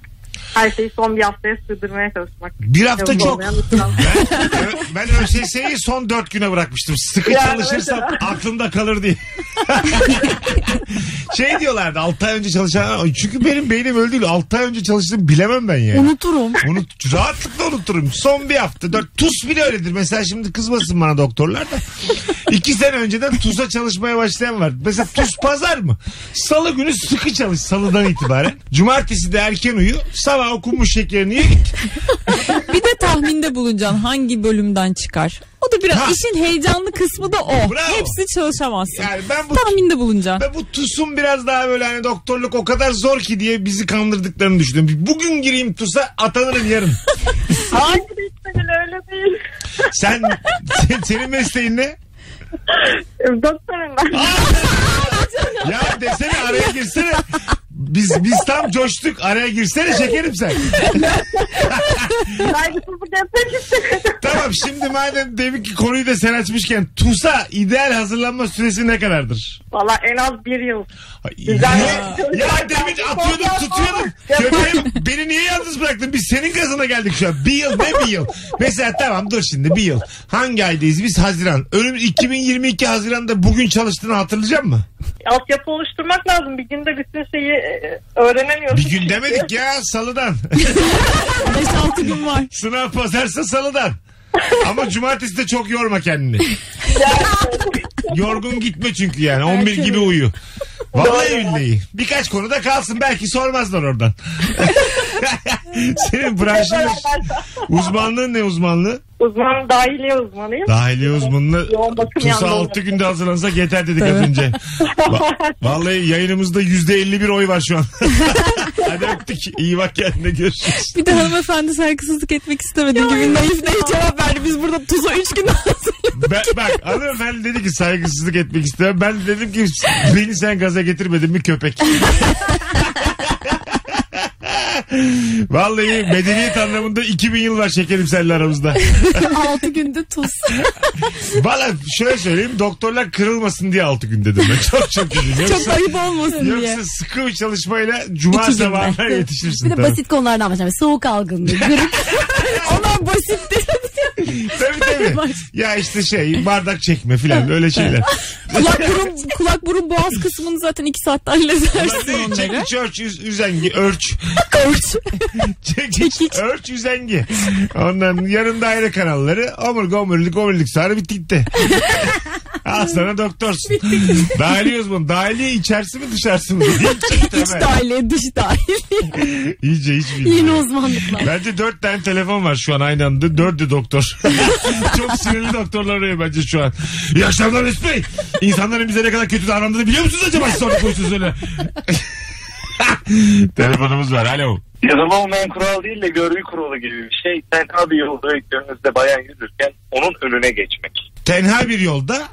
[SPEAKER 10] Her şeyi son bir haftaya sığdırmaya çalışmak.
[SPEAKER 2] Bir hafta
[SPEAKER 10] Yazılı
[SPEAKER 2] çok.
[SPEAKER 10] olmayan bir kural.
[SPEAKER 2] Ben, ben ÖSS'yi son dört güne bırakmıştım. Sıkı çalışırsam aklımda kalır diye. şey diyorlardı 6 ay önce çalışan. Çünkü benim beynim öyle değil. 6 ay önce çalıştığımı bilemem ben yani.
[SPEAKER 3] Unuturum.
[SPEAKER 2] Unut, rahatlıkla unuturum. Son bir hafta. Dört, tuz bile öyledir. Mesela şimdi kızmasın bana doktorlar da. İki sene önceden tuza çalışmaya başlayan var. Mesela tuz pazar mı? Salı günü sıkı çalış salıdan itibaren. Cumartesi de erken uyu. Sabah okunmuş şekerini ye git.
[SPEAKER 4] Bir de tahminde bulunacaksın hangi bölümden çıkar. O da biraz
[SPEAKER 2] Ha.
[SPEAKER 4] işin heyecanlı kısmı da o.
[SPEAKER 2] Bravo.
[SPEAKER 4] Hepsi çalışamazsın.
[SPEAKER 2] Yani ben bu
[SPEAKER 4] Tahminde bulunacaksın.
[SPEAKER 2] ve bu TUS'un biraz daha böyle hani doktorluk o kadar zor ki diye bizi kandırdıklarını düşündüm. Bugün gireyim TUS'a atanırım yarın.
[SPEAKER 10] Hayır hiçbir öyle değil.
[SPEAKER 2] Sen, sen- senin mesleğin ne?
[SPEAKER 10] Doktorum ben.
[SPEAKER 2] Ya desene araya girsene. Biz biz tam coştuk. Araya girsene şekerim sen.
[SPEAKER 10] Saygısızlık yapmak istedim.
[SPEAKER 2] tamam şimdi madem demin ki konuyu da sen açmışken TUS'a ideal hazırlanma süresi ne kadardır?
[SPEAKER 10] Valla en az bir yıl.
[SPEAKER 2] Ay,
[SPEAKER 10] Güzel.
[SPEAKER 2] Ya, ya demin atıyordum tutuyordum. Köpeğim beni niye yalnız bıraktın? Biz senin gazına geldik şu an. Bir yıl ne bir yıl? Mesela tamam dur şimdi bir yıl. Hangi aydayız biz? Haziran. Önümüz 2022 Haziran'da bugün çalıştığını hatırlayacak mı?
[SPEAKER 10] Altyapı oluşturmak lazım. Bir günde bütün şeyi e, öğrenemiyorsun.
[SPEAKER 2] Bir gün
[SPEAKER 10] çünkü.
[SPEAKER 2] demedik ya salıdan.
[SPEAKER 4] 5-6 gün var.
[SPEAKER 2] Sınav pazarsa salıdan. Ama cumartesi de çok yorma kendini. Yorgun gitme çünkü yani. 11 gibi uyu. Vallahi billahi. Birkaç konuda kalsın. Belki sormazlar oradan. Senin branşın ne? uzmanlığın ne uzmanlığı?
[SPEAKER 10] Uzman dahiliye uzmanıyım.
[SPEAKER 2] Dahiliye uzmanlığı.
[SPEAKER 10] Yoğun bakım
[SPEAKER 2] TUS'a
[SPEAKER 10] yandı.
[SPEAKER 2] 6 günde hazırlansak yeter dedik az önce. Va- Vallahi yayınımızda %51 oy var şu an. Hadi öptük. İyi bak kendine görüşürüz.
[SPEAKER 4] Bir de hanımefendi saygısızlık etmek istemedim gibi naif naif cevap verdi. Biz burada tuza 3 gün
[SPEAKER 2] Ben, bak hanımefendi dedi ki saygısızlık etmek istemem. Ben de dedim ki beni sen gaza getirmedin mi köpek? Vallahi medeniyet anlamında 2000 yıl var şekerim seninle aramızda.
[SPEAKER 3] 6 günde tuz.
[SPEAKER 2] Valla şöyle söyleyeyim doktorlar kırılmasın diye 6 gün dedim. Ben. Çok çok üzüldüm.
[SPEAKER 4] Çok ayıp olmasın diye.
[SPEAKER 2] Yoksa sıkı bir çalışmayla cuma
[SPEAKER 4] İki günde.
[SPEAKER 2] sabahına yetişirsin.
[SPEAKER 3] Bir de
[SPEAKER 2] tabii.
[SPEAKER 3] basit konulardan başlamış. Soğuk algınlığı, grip.
[SPEAKER 4] Onlar basit değil.
[SPEAKER 2] Tabii tabii. ya işte şey bardak çekme filan öyle şeyler.
[SPEAKER 4] kulak, burun, kulak burun boğaz kısmını zaten 2 saatte halledersin
[SPEAKER 2] Çek-
[SPEAKER 4] onları.
[SPEAKER 2] Çek ölç üz- üzengi örç.
[SPEAKER 4] Kavurç.
[SPEAKER 2] Çek- çek- Örç üzengi. Ondan yarın daire kanalları omurga omurilik omurilik sarı bitti gitti. Al sana doktorsun. Dahiliye uzmanı. Dahiliye içerisi mi dışarısı mı?
[SPEAKER 4] İç dahiliye dış dahiliye.
[SPEAKER 2] İyice hiç
[SPEAKER 3] Yeni
[SPEAKER 2] bilmiyorum.
[SPEAKER 3] uzmanlıklar.
[SPEAKER 2] Bence dört tane telefon var şu an aynı anda. Dördü doktor. Çok sinirli doktorlar arıyor bence şu an. İyi akşamlar Mesut Bey. İnsanların bize ne kadar kötü davrandığını biliyor musunuz acaba? Siz Sonra konuşuyorsunuz öyle. Telefonumuz var. Alo.
[SPEAKER 5] Yazılı olmayan kural değil de görgü kuralı gibi bir şey. Sen bir yolda önünüzde bayan yürürken onun önüne geçmek.
[SPEAKER 2] Tenha bir yolda.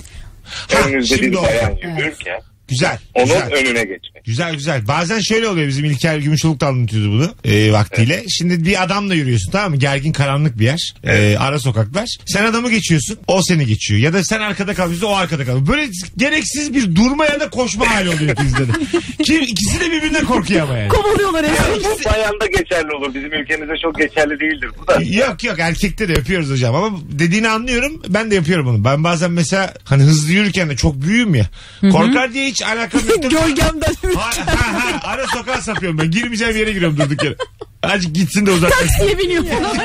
[SPEAKER 2] Ha,
[SPEAKER 5] Önünüzde
[SPEAKER 2] şimdi
[SPEAKER 5] bir
[SPEAKER 2] o.
[SPEAKER 5] bayan yürürken
[SPEAKER 2] Güzel.
[SPEAKER 5] onun
[SPEAKER 2] güzel.
[SPEAKER 5] önüne geçmek.
[SPEAKER 2] Güzel güzel. Bazen şöyle oluyor bizim İlker Gümüşoluk da anlatıyordu bunu e, vaktiyle. Şimdi bir adamla yürüyorsun tamam mı? Gergin karanlık bir yer. E, ara sokaklar. Sen adamı geçiyorsun. O seni geçiyor. Ya da sen arkada kalıyorsun o arkada kalıyor. Böyle gereksiz bir durma ya da koşma hali oluyor ikizde de. Kim, ikisi de birbirinden korkuyor ama yani.
[SPEAKER 3] Kovalıyorlar evet.
[SPEAKER 5] Bu bayanda geçerli olur. Bizim ülkemizde çok geçerli değildir. Bu da
[SPEAKER 2] Yok yok erkekte de yapıyoruz hocam ama dediğini anlıyorum ben de yapıyorum bunu. Ben bazen mesela hani hızlı yürürken de çok büyüğüm ya. Korkar diye hiç alakam yoktur.
[SPEAKER 4] Gölgemden.
[SPEAKER 2] Ha, ha, ha. Ara sokağa sapıyorum ben. Girmeyeceğim yere giriyorum durduk yere. Azıcık gitsin de uzaklaşsın.
[SPEAKER 3] Diye biniyor falan.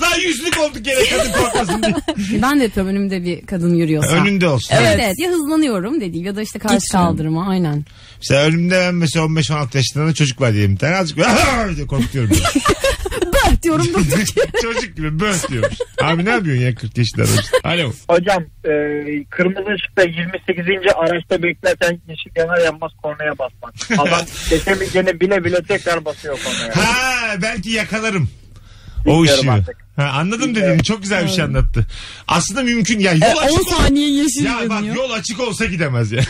[SPEAKER 2] Lan yüzlük olduk yere kadın korkmasın diye.
[SPEAKER 3] ben de yapıyorum önümde bir kadın yürüyorsa.
[SPEAKER 2] Önünde olsun.
[SPEAKER 3] Evet. evet ya hızlanıyorum dedi ya da işte karşı kaldırıma aynen.
[SPEAKER 2] Mesela önümde ben mesela 15-16 yaşında da çocuk var diyelim. Bir tane azıcık diye korkutuyorum. beni.
[SPEAKER 3] Bak diyorum durduk.
[SPEAKER 2] çocuk gibi böh diyormuş. Abi ne yapıyorsun ya 40 yaşında adam? Alo.
[SPEAKER 6] Hocam e, kırmızı ışıkta 28. araçta beklerken yeşil yanar yanmaz kornaya basmak. Adam geçemeyeceğini bile bile tekrar basıyor kornaya.
[SPEAKER 2] Ha belki yakalarım. O
[SPEAKER 6] Bilmiyorum
[SPEAKER 2] işi.
[SPEAKER 6] artık.
[SPEAKER 2] Ha, anladım dediğini çok güzel bir şey anlattı. Aslında mümkün
[SPEAKER 3] E,
[SPEAKER 2] ya yol
[SPEAKER 4] 10
[SPEAKER 2] açık ol-
[SPEAKER 4] saniye yeşil
[SPEAKER 2] Ya bak
[SPEAKER 4] dönüyor.
[SPEAKER 2] yol açık olsa gidemez ya.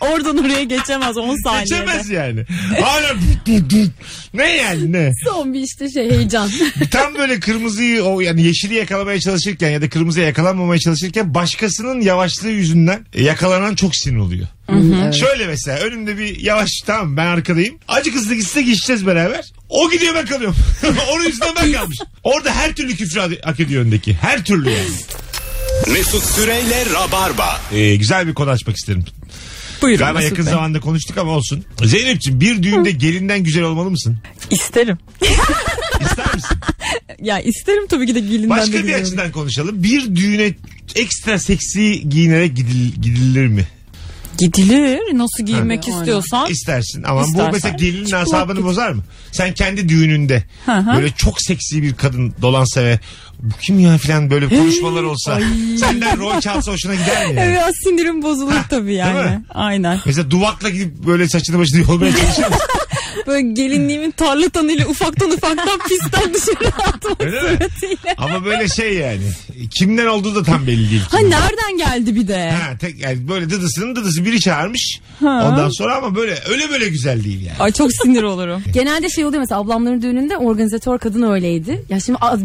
[SPEAKER 4] Oradan oraya geçemez 10 saniyede.
[SPEAKER 2] Geçemez yani. Hala ne yani ne?
[SPEAKER 3] Son bir işte şey heyecan.
[SPEAKER 2] Tam böyle kırmızıyı o yani yeşili yakalamaya çalışırken ya da kırmızıya yakalanmamaya çalışırken başkasının yavaşlığı yüzünden yakalanan çok sinir oluyor. Şöyle mesela önümde bir yavaş tamam ben arkadayım. Acı hızlı gitse geçeceğiz beraber. O gidiyor ben kalıyorum. Onun yüzünden ben kalmış. Orada her türlü küfür hak- hak ediyor öndeki. Her türlü yani.
[SPEAKER 1] Mesut Süreyle Rabarba.
[SPEAKER 2] Ee, güzel bir konu açmak isterim.
[SPEAKER 4] Buyurun.
[SPEAKER 2] Galiba
[SPEAKER 4] Mesut
[SPEAKER 2] yakın
[SPEAKER 4] Bey.
[SPEAKER 2] zamanda konuştuk ama olsun. Zeynep'ciğim bir düğünde gelinden güzel olmalı mısın?
[SPEAKER 4] İsterim.
[SPEAKER 2] İster misin?
[SPEAKER 4] Ya isterim tabii ki de gelinden de
[SPEAKER 2] Başka bir
[SPEAKER 4] geliyorum.
[SPEAKER 2] açıdan konuşalım. Bir düğüne ekstra seksi giyinerek gidil- gidilir mi?
[SPEAKER 4] Gidilir. Nasıl giymek
[SPEAKER 3] Ha.
[SPEAKER 4] istiyorsan.
[SPEAKER 2] İstersin ama bu
[SPEAKER 4] İstersen.
[SPEAKER 2] mesela gelinin
[SPEAKER 4] Çıplak
[SPEAKER 2] asabını
[SPEAKER 4] git.
[SPEAKER 2] bozar mı? Sen kendi düğününde
[SPEAKER 4] Hı hı.
[SPEAKER 2] böyle çok seksi bir kadın dolansa ve bu kim ya falan böyle konuşmalar olsa senden rol çalsa hoşuna gider mi? yani?
[SPEAKER 4] Evet sinirim bozulur tabii yani.
[SPEAKER 2] mi?
[SPEAKER 4] Aynen.
[SPEAKER 2] Mesela duvakla gidip böyle saçını başını yolmaya çalışır mısın?
[SPEAKER 4] Böyle gelinliğimin tarlatanıyla ufaktan ufaktan pistten dışarı atmak
[SPEAKER 2] Öyle mi?
[SPEAKER 4] suretiyle.
[SPEAKER 2] Ama böyle şey yani. Kimden olduğu da tam belli değil.
[SPEAKER 4] Ha nereden geldi bir de?
[SPEAKER 2] Ha, tek, yani böyle dıdısının dıdısı biri çağırmış.
[SPEAKER 4] Ha.
[SPEAKER 2] Ondan sonra ama böyle öyle böyle güzel değil yani.
[SPEAKER 4] Ay çok sinir olurum.
[SPEAKER 3] Genelde şey oluyor mesela ablamların düğününde organizatör kadın öyleydi. Ya şimdi at,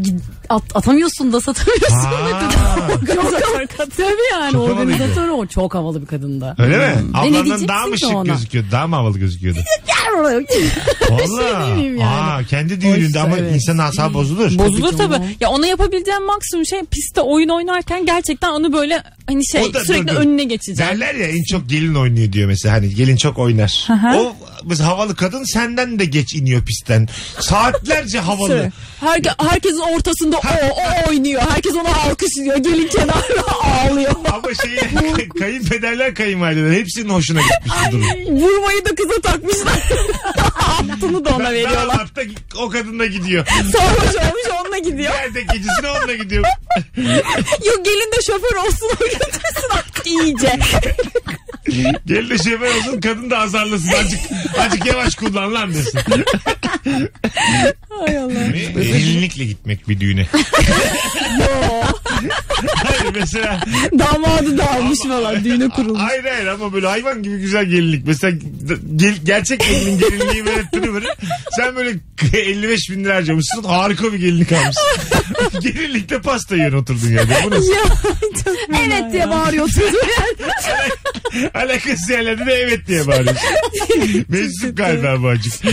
[SPEAKER 3] at- atamıyorsun da satamıyorsun.
[SPEAKER 2] Ha.
[SPEAKER 3] Organizatör kadın. Tabii yani
[SPEAKER 2] Çok havalıydı.
[SPEAKER 3] organizatör o. Çok havalı bir kadında.
[SPEAKER 2] Öyle mi?
[SPEAKER 3] ne
[SPEAKER 2] Ablandan
[SPEAKER 3] diyeceksin
[SPEAKER 2] daha mı
[SPEAKER 3] ki
[SPEAKER 2] şık
[SPEAKER 3] Hmm. ona?
[SPEAKER 2] gözüküyordu? Daha mı havalı gözüküyordu? Valla.
[SPEAKER 3] diyemeyeyim şey yani.
[SPEAKER 2] Aa, kendi düğününde
[SPEAKER 3] Oysa
[SPEAKER 2] ama
[SPEAKER 3] evet.
[SPEAKER 2] insanın asabı bozulur.
[SPEAKER 4] Bozulur
[SPEAKER 3] Tabii canım.
[SPEAKER 4] tabii. Ya ona yapabileceğim maksimum şey pistte oyun oynarken gerçekten onu böyle hani şey
[SPEAKER 2] O da-
[SPEAKER 4] sürekli
[SPEAKER 2] dur, dur.
[SPEAKER 4] önüne geçeceğim.
[SPEAKER 2] Derler ya en çok gelin oynuyor diyor mesela hani gelin çok oynar. O biz havalı kadın senden de geç iniyor pistten. Saatlerce havalı.
[SPEAKER 4] Herke, herkesin ortasında o, o oynuyor. Herkes ona alkışlıyor. Gelin kenarda ağlıyor.
[SPEAKER 2] Ama şey kayınpederler kayınvalideler hepsinin hoşuna gitmiş bu durum.
[SPEAKER 4] Vurmayı da kıza takmışlar. Altını da ona veriyorlar.
[SPEAKER 2] Damat da o kadın da gidiyor.
[SPEAKER 4] Sarhoş olmuş onunla gidiyor.
[SPEAKER 2] Nerede gecesine onunla gidiyor.
[SPEAKER 4] Yok gelin de şoför olsun o götürsün artık iyice.
[SPEAKER 2] Gelin de şoför olsun kadın da azarlasın. Azıcık, azıcık yavaş kullan lan desin.
[SPEAKER 4] Hay Allah.
[SPEAKER 2] Yani Gelinlikle gitmek bir düğüne. Hayır mesela
[SPEAKER 4] Damadı da almış falan düğüne kurulmuş.
[SPEAKER 2] Hayır hayır ama böyle hayvan gibi güzel gelinlik. Mesela gel- gerçek gelinin gelinliği böyle tını böyle. Sen böyle 55 bin lira harcamışsın. Harika bir gelinlik almışsın. Gelinlikte pasta yiyen oturdun yani. Bu nasıl?
[SPEAKER 4] Ya, çok fena
[SPEAKER 3] Evet diye bağırıyorsun.
[SPEAKER 2] Alakasız yerlerde de evet diye bağırıyorsun. Mesut galiba bu acık.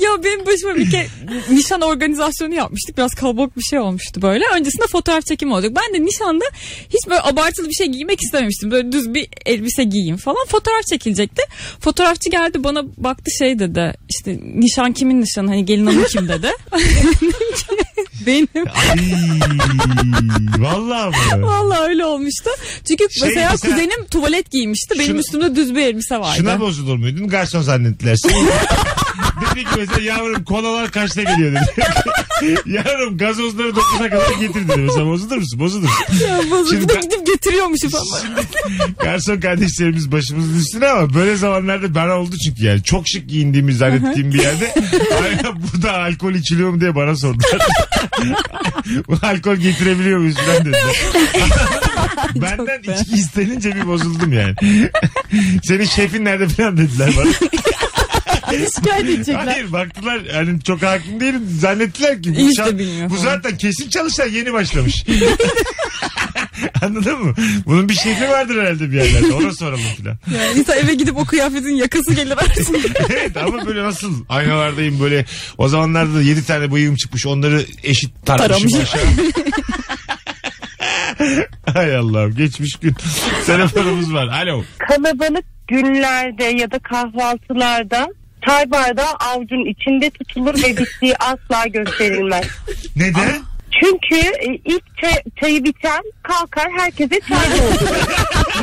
[SPEAKER 4] Ya benim başıma bir kere nişan organizasyonu yapmıştık. Biraz kalabalık bir şey olmuştu böyle. Öncesinde fotoğraf çekimi olacak. Ben de nişanda hiç böyle abartılı bir şey giymek istememiştim. Böyle düz bir elbise giyeyim falan. Fotoğraf çekilecekti. Fotoğrafçı geldi bana baktı şey dedi. İşte nişan kimin nişanı? Hani gelin hanım kim dedi. Benim.
[SPEAKER 2] Ay, vallahi mı?
[SPEAKER 4] Vallahi öyle olmuştu. Çünkü
[SPEAKER 2] Şey,
[SPEAKER 4] mesela,
[SPEAKER 2] mesela-
[SPEAKER 4] kuzenim tuvalet giymişti. Benim
[SPEAKER 2] Şuna-
[SPEAKER 4] üstümde düz bir elbise vardı.
[SPEAKER 2] Şuna bozulur muydun? Garson zannettiler. seni. dedi ki mesela yavrum kolalar kaçta geliyor dedi. yavrum gazozları 9'a kadar getir dedi. Mesela bozulur musun? Bozulursun.
[SPEAKER 4] Ya, bozuldu
[SPEAKER 2] Şimdi
[SPEAKER 4] da
[SPEAKER 2] ben- Şey-
[SPEAKER 4] gidip getiriyormuşum ama.
[SPEAKER 2] Garson kardeşlerimiz başımızın üstüne ama böyle zamanlarda ben oldu çünkü yani. Çok şık giyindiğimi zannettiğim bir yerde "Aynen burada alkol içiliyor mu diye bana sordular. Bu alkol getirebiliyor muyuz falan dediler. Benden içki istenince bir bozuldum yani. Senin şefin nerede falan dediler bana.
[SPEAKER 3] Şikayet edecekler.
[SPEAKER 2] Hayır baktılar hani çok hakim değilim zannettiler ki bu,
[SPEAKER 4] İyi işte
[SPEAKER 2] şa-
[SPEAKER 4] bilmiyor
[SPEAKER 2] bu
[SPEAKER 4] falan.
[SPEAKER 2] zaten kesin çalışan yeni başlamış. Anladın mı? Bunun bir şekli vardır herhalde bir yerlerde. Ona soralım filan.
[SPEAKER 4] Yani insan eve gidip o kıyafetin yakası gelir artık.
[SPEAKER 2] evet ama böyle nasıl aynalardayım böyle. O zamanlarda da 7 tane bıyığım çıkmış. Onları eşit tarmışım
[SPEAKER 4] Taramış.
[SPEAKER 2] aşağı. Hay Allah'ım geçmiş gün. Telefonumuz var. Alo.
[SPEAKER 11] kalabalık günlerde ya da kahvaltılarda çay bardağı avucun içinde tutulur ve bittiği asla gösterilmez.
[SPEAKER 2] Neden?
[SPEAKER 11] Çünkü e, ilk çay, çayı biten kalkar herkese çay doldurur.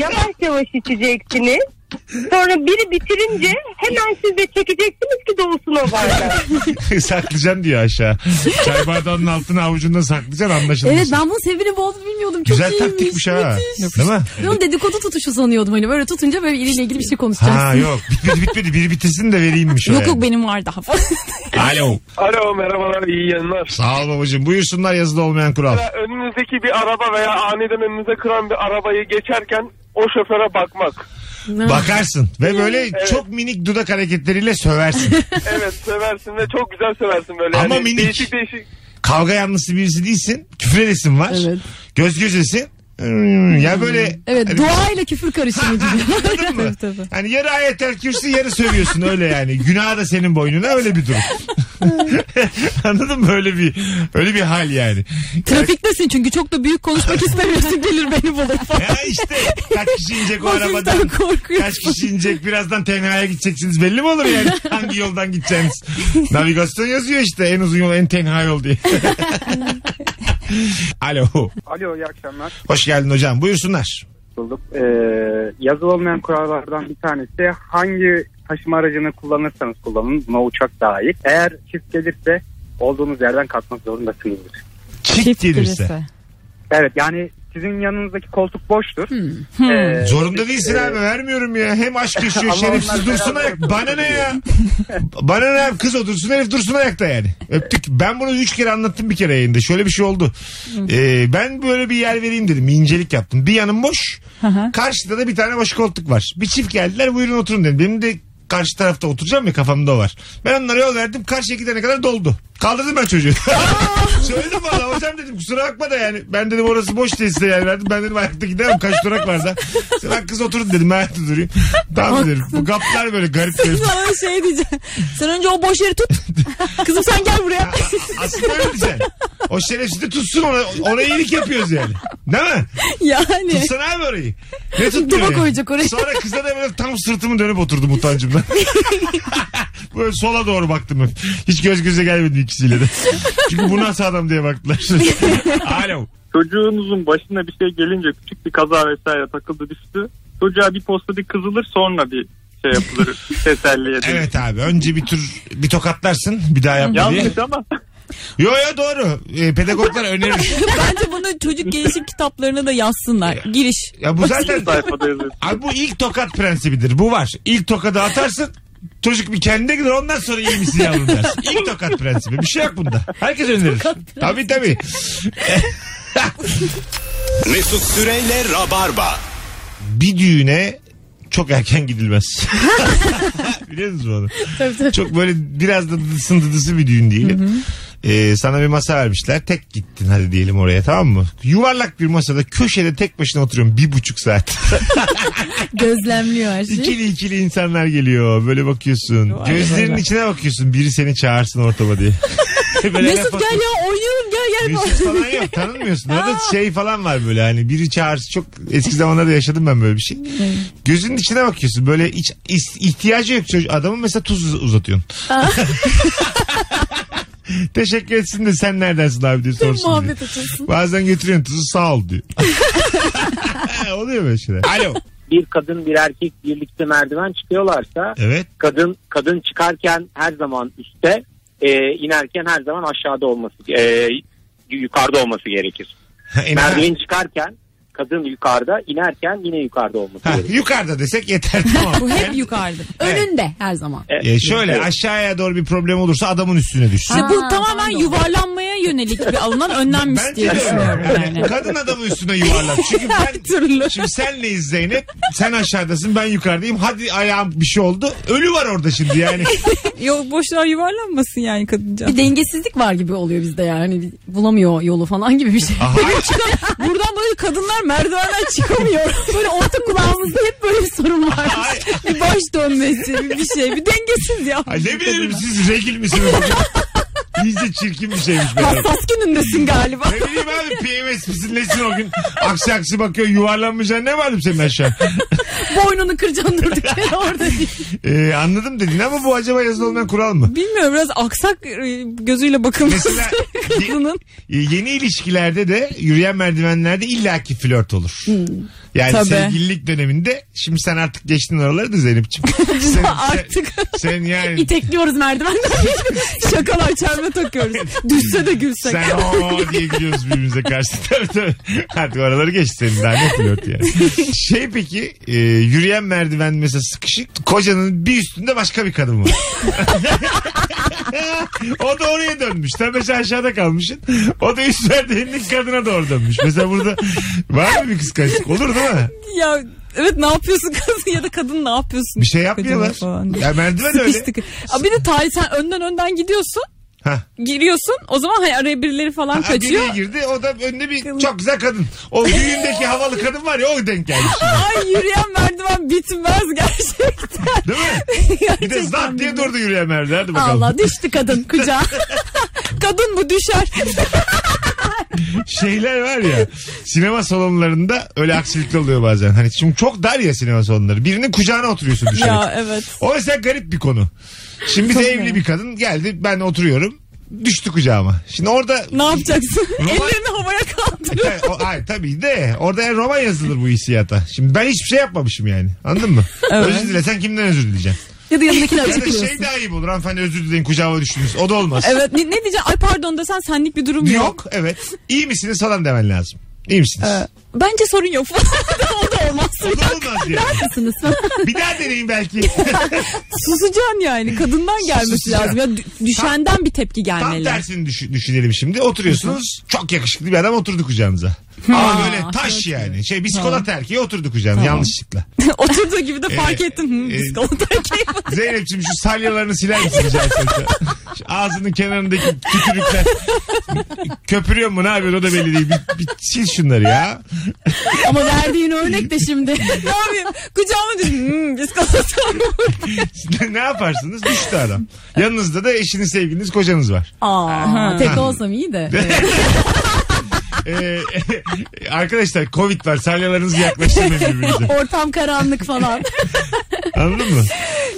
[SPEAKER 11] yavaş yavaş içeceksiniz. Sonra biri bitirince hemen siz de çekeceksiniz ki dolsun o bardağı.
[SPEAKER 2] saklayacaksın diyor aşağı. Çay bardağının altına avucunda saklayacaksın anlaşılmış.
[SPEAKER 3] Evet ben bunun sebebini boğduğunu bilmiyordum. Çok
[SPEAKER 2] Güzel
[SPEAKER 3] iyiymiş.
[SPEAKER 2] taktikmiş ha.
[SPEAKER 3] müthiş.
[SPEAKER 2] Değil mi?
[SPEAKER 3] Ben onu dedikodu tutuşu sanıyordum hani böyle tutunca böyle iriyle ilgili bir şey konuşacaksın.
[SPEAKER 2] Ha yok bitmedi bitmedi biri bitirsin de vereyimmiş o
[SPEAKER 4] yok
[SPEAKER 2] yani.
[SPEAKER 4] yok benim var daha fazla.
[SPEAKER 2] Alo.
[SPEAKER 8] Alo merhabalar iyi yayınlar.
[SPEAKER 2] Sağ ol babacığım buyursunlar yazılı olmayan kural.
[SPEAKER 8] Mesela önünüzdeki bir araba veya aniden önünüze kıran bir arabayı geçerken o şoföre bakmak.
[SPEAKER 2] Bakarsın ve böyle çok minik dudak hareketleriyle söversin.
[SPEAKER 8] Evet seversin ve çok güzel seversin böyle.
[SPEAKER 2] Ama
[SPEAKER 8] yani
[SPEAKER 2] minik.
[SPEAKER 8] Değişik değişik.
[SPEAKER 2] Kavga yanlısı birisi değilsin. Küfür edesin var.
[SPEAKER 3] Evet.
[SPEAKER 2] Göz gözesin. Hmm, Ya böyle
[SPEAKER 3] Evet duayla küfür karışımı gibi.
[SPEAKER 2] anladın mı?
[SPEAKER 3] Tabii, tabii.
[SPEAKER 2] Hani yarı ayetel kürsü yarı sövüyorsun öyle yani. Günah da senin boynuna öyle bir durum. anladın mı? Öyle bir öyle bir hal yani.
[SPEAKER 4] Trafiktesin çünkü çok da büyük konuşmak istemiyorsun gelir beni bulur falan.
[SPEAKER 2] Ya işte kaç kişi inecek o arabadan.
[SPEAKER 4] Hafiften korkuyor.
[SPEAKER 2] Kaç kişi inecek birazdan tenhaya gideceksiniz belli mi olur yani? Hangi yoldan gideceğiniz? Navigasyon yazıyor işte en uzun yol en tenha yol diye. Alo.
[SPEAKER 7] Alo iyi akşamlar.
[SPEAKER 2] Hoş geldin hocam buyursunlar.
[SPEAKER 7] Bulduk. Ee, yazılı olmayan kurallardan bir tanesi hangi taşıma aracını kullanırsanız kullanın. Buna uçak dahil. Eğer çift gelirse olduğunuz yerden kalkmak zorundasınızdır.
[SPEAKER 2] Çift gelirse.
[SPEAKER 7] Evet yani
[SPEAKER 12] sizin yanınızdaki koltuk boştur. Ee,
[SPEAKER 2] Zorunda
[SPEAKER 12] biz,
[SPEAKER 2] değilsin
[SPEAKER 12] e,
[SPEAKER 2] abi vermiyorum ya. Hem aşk yaşıyor
[SPEAKER 12] Ama
[SPEAKER 2] şerefsiz
[SPEAKER 12] onlar
[SPEAKER 2] dursun
[SPEAKER 12] beraber
[SPEAKER 2] ayak. Bana ne ya? Bana ne abi kız o dursun herif dursun ayakta yani. Öptük. Ben bunu üç kere anlattım bir kere yayında. Şöyle bir şey oldu. Ee, ben böyle bir yer vereyim dedim. İncelik yaptım. Bir yanım boş. Karşıda da bir tane boş koltuk var. Bir çift geldiler buyurun oturun dedim. Benim de karşı tarafta oturacağım ya kafamda o var. Ben onlara yol verdim. Karşıya gidene kadar doldu. Kaldırdım ben çocuğu. Söyledim bana hocam dedim kusura bakma da yani. Ben dedim orası boş değil size yer verdim. Ben dedim ayakta giderim kaç durak var da. Sen lan kız oturun dedim ben ayakta durayım. Tamam dedim. Bu kaplar böyle garip garip.
[SPEAKER 4] Sana şey diyeceğim. Sen önce o boş yeri tut. Kızım sen gel buraya.
[SPEAKER 2] Aslında öyle diyeceksin. O şerefsiz de tutsun ona, ona iyilik yapıyoruz yani. Değil mi?
[SPEAKER 4] Yani.
[SPEAKER 2] Tutsana abi orayı. Ne tutmuyor
[SPEAKER 3] Duba
[SPEAKER 2] yani?
[SPEAKER 3] koyacak oraya.
[SPEAKER 2] Sonra kıza da böyle tam sırtımı dönüp oturdum utancımdan. böyle sola doğru baktım hep. Hiç göz göze gelmedi ikisiyle de. Çünkü bu nasıl adam diye baktılar. Alo.
[SPEAKER 8] Çocuğunuzun başına bir şey gelince küçük bir kaza vesaire takıldı düştü. Çocuğa bir posta bir kızılır sonra bir şey yapılır. teselli edilir.
[SPEAKER 2] Evet abi önce bir tür bir tokatlarsın bir daha yapma diye.
[SPEAKER 8] Yanlış ama.
[SPEAKER 2] Yo yo doğru. Ee, pedagoglar önerir.
[SPEAKER 4] Bence bunu çocuk gelişim kitaplarına da yazsınlar. Giriş.
[SPEAKER 2] Ya bu zaten
[SPEAKER 8] sayfada yazıyor.
[SPEAKER 2] abi bu ilk tokat prensibidir. Bu var. İlk tokadı atarsın çocuk bir kendine gider ondan sonra iyi misin yavrum dersin. İlk tokat prensibi. Bir şey yok bunda. Herkes önerir. Tabii tabii.
[SPEAKER 1] Mesut Süreyle Rabarba.
[SPEAKER 2] bir düğüne çok erken gidilmez. Biliyor musunuz onu? Çok böyle biraz da dıdısın dıdısı bir düğün diyelim. Ee, sana bir masa vermişler. Tek gittin hadi diyelim oraya tamam mı? Yuvarlak bir masada köşede tek başına oturuyorum bir buçuk saat.
[SPEAKER 3] Gözlemliyor her
[SPEAKER 4] şey.
[SPEAKER 3] şeyi.
[SPEAKER 2] ikili ikili insanlar geliyor. Böyle bakıyorsun. Gözlerinin içine bakıyorsun. Biri seni çağırsın ortama diye. Böyle laf
[SPEAKER 4] Mesut
[SPEAKER 2] atıyor.
[SPEAKER 4] gel ya oynayalım gel gel.
[SPEAKER 2] Mesut falan yok tanınmıyorsun. Orada şey falan var böyle hani biri çağırsa çok eski zamanlarda yaşadım ben böyle bir şey. Gözünün içine bakıyorsun böyle hiç is- ihtiyacı yok çocuğu. Adamın mesela tuz uz- uzatıyorsun. Teşekkür etsin de sen neredensin abi diye sorsun. diye.
[SPEAKER 3] Muhabbet açılsın.
[SPEAKER 2] Bazen götürüyorsun tuzu sağ ol diyor. Oluyor böyle şeyler. Alo.
[SPEAKER 6] Bir kadın bir erkek birlikte merdiven çıkıyorlarsa
[SPEAKER 2] Evet.
[SPEAKER 6] kadın kadın çıkarken her zaman üstte e, inerken her zaman aşağıda olması e, yukarıda olması gerekir. Merdiven çıkarken kadın yukarıda inerken yine yukarıda olması
[SPEAKER 2] Ha,
[SPEAKER 6] gerekir.
[SPEAKER 2] yukarıda desek yeter tamam.
[SPEAKER 3] Bu hep yukarıda. Önünde her zaman.
[SPEAKER 2] E, şöyle aşağıya doğru bir problem olursa adamın üstüne düşsün.
[SPEAKER 4] İşte bu
[SPEAKER 3] Ha,
[SPEAKER 4] tamamen yuvarlanmaya yönelik bir alınan önlenmiş
[SPEAKER 2] Bence
[SPEAKER 4] diye
[SPEAKER 2] de öyle.
[SPEAKER 4] düşünüyorum
[SPEAKER 2] Yani
[SPEAKER 4] yani.
[SPEAKER 2] Kadın adamı üstüne yuvarlar. Çünkü ben
[SPEAKER 4] türlü.
[SPEAKER 2] şimdi senleyiz Zeynep. Sen aşağıdasın ben yukarıdayım. Hadi ayağım bir şey oldu. Ölü var orada şimdi yani.
[SPEAKER 4] Yok boşluğa yuvarlanmasın yani kadınca.
[SPEAKER 3] Bir dengesizlik var gibi oluyor bizde yani. Hani Bir Bulamıyor yolu falan gibi bir şey.
[SPEAKER 2] Aha,
[SPEAKER 4] Buradan böyle kadınlar merdivenden çıkamıyor.
[SPEAKER 3] Böyle orta kulağımızda hep böyle bir sorun var.
[SPEAKER 4] bir baş dönmesi bir şey. Bir dengesiz ya.
[SPEAKER 2] ay ne bileyim siz regil misiniz? İyice çirkin bir şeymiş böyle.
[SPEAKER 4] Hassas günündesin galiba.
[SPEAKER 2] Ne bileyim abi PMS misin nesin o gün? Aksi aksi bakıyor yuvarlanmayacaksın ne malum senin aşağı.
[SPEAKER 3] Boynunu kıracaksın durduk yere orada değil.
[SPEAKER 2] Ee, anladım dedin ama bu acaba yazılı olmayan kural mı?
[SPEAKER 4] Bilmiyorum biraz aksak e, gözüyle bakılması
[SPEAKER 2] Mesela-
[SPEAKER 4] kadının.
[SPEAKER 2] E, yeni ilişkilerde de yürüyen merdivenlerde illaki flört olur. Yani
[SPEAKER 4] Tabii.
[SPEAKER 2] sevgililik döneminde şimdi sen artık geçtin oraları da Zeynep'ciğim. sen, şey-
[SPEAKER 4] Artık.
[SPEAKER 2] Sen, sen yani
[SPEAKER 3] İtekliyoruz merdivenden.
[SPEAKER 4] Şakalar çelme takıyoruz. Düşse de gülsek.
[SPEAKER 2] sen o diye gülüyoruz birbirimize karşı. Tabii, tabii. Artık oraları geç senin daha ne flört yani. Şey peki e, yürüyen merdiven mesela sıkışık kocanın bir üstünde başka bir kadın var. o da oraya dönmüş. Sen mesela aşağıda kalmışsın. O da üst merdivenindeki kadına doğru dönmüş. Mesela burada var mı bir kıskançlık? Olur değil mi?
[SPEAKER 4] Ya evet ne yapıyorsun kız ya da kadın ne yapıyorsun?
[SPEAKER 2] Bir şey
[SPEAKER 4] Kocana falan.
[SPEAKER 2] yapmıyorlar. Ya merdiven öyle.
[SPEAKER 4] Sıkıştık. Aa, bir de tarih sen önden önden gidiyorsun.
[SPEAKER 2] Hah.
[SPEAKER 4] Giriyorsun o zaman hani araya birileri falan
[SPEAKER 2] Ha,
[SPEAKER 4] kaçıyor.
[SPEAKER 2] biri girdi o da önüne bir çok güzel kadın. O düğündeki havalı kadın var ya o denk gelmiş.
[SPEAKER 4] Ay yürüyen merdiven bitmez gerçekten.
[SPEAKER 2] Değil mi? Bir de zat diye durdu yürüyen merdiven. Hadi bakalım.
[SPEAKER 3] Allah düştü kadın kucağa.
[SPEAKER 4] Kadın bu düşer.
[SPEAKER 2] Şeyler var ya sinema salonlarında öyle aksilikli oluyor bazen. Hani şimdi çok dar ya sinema salonları. Birinin kucağına oturuyorsun düşünerek.
[SPEAKER 4] ya evet.
[SPEAKER 2] O mesela garip bir konu. Şimdi bize evli bir kadın geldi ben oturuyorum. Düştü kucağıma. Şimdi orada
[SPEAKER 4] Ne yapacaksın?
[SPEAKER 2] Roman-
[SPEAKER 4] Ellerini havaya kaldırıyor.
[SPEAKER 2] Tabii, o, ay, tabii de orada roman yazılır bu hissiyata. Şimdi ben hiçbir şey yapmamışım yani. Anladın mı?
[SPEAKER 4] Evet.
[SPEAKER 2] Özür dilesen kimden özür dileyeceksin?
[SPEAKER 3] ya da yanındakini
[SPEAKER 2] Ya da
[SPEAKER 3] açıklıyorsun.
[SPEAKER 2] şey daha iyi olur. Hanımefendi özür dileyin kucağıma düştünüz. O da olmaz.
[SPEAKER 4] Evet ne, ne diyeceğim? Ay pardon desen senlik bir durum
[SPEAKER 2] Yok.
[SPEAKER 4] yok.
[SPEAKER 2] evet. İyi misiniz falan demen lazım. İyi misiniz?
[SPEAKER 4] Bence sorun yok falan. o da olmaz.
[SPEAKER 2] O da olmaz yani.
[SPEAKER 4] Haklısınız.
[SPEAKER 2] Bir daha deneyin belki.
[SPEAKER 4] Susacaksın yani. Kadından gelmesi
[SPEAKER 2] Susacaksın.
[SPEAKER 4] lazım. Ya dü- düşenden bir tepki
[SPEAKER 2] Tam
[SPEAKER 4] gelmeli.
[SPEAKER 2] tersini düşün- düşünelim şimdi. Oturuyorsunuz. Çok yakışıklı bir adam oturdu kucağınıza. Ama
[SPEAKER 4] Ha,
[SPEAKER 2] böyle taş yani. Şey biskolat erkeği oturdu kucağına
[SPEAKER 4] Tamam.
[SPEAKER 2] yanlışlıkla.
[SPEAKER 4] Oturduğu gibi de fark Hmm.
[SPEAKER 2] Ee,
[SPEAKER 4] ettin. Hı,
[SPEAKER 2] e,
[SPEAKER 4] biskolata erkeği.
[SPEAKER 2] Zeynep'ciğim şu salyalarını siler misin rica etsem sana? Şu Ağzının kenarındaki tükürükler. Köpürüyor mu ne yapıyor o da belli değil. Bir, bir sil şunları ya.
[SPEAKER 3] Ama verdiğin örnek de şimdi.
[SPEAKER 4] ne yapayım? Kucağıma düşün. Hmm, biskolata.
[SPEAKER 2] ne yaparsınız? Düştü adam. Yanınızda da eşiniz, sevgiliniz, kocanız var.
[SPEAKER 3] Aa, tek olsam iyi de.
[SPEAKER 2] Ee, arkadaşlar Covid var. Salyalarınızı yaklaştırmayın birbirinize.
[SPEAKER 3] Ortam karanlık falan.
[SPEAKER 2] Anladın mı?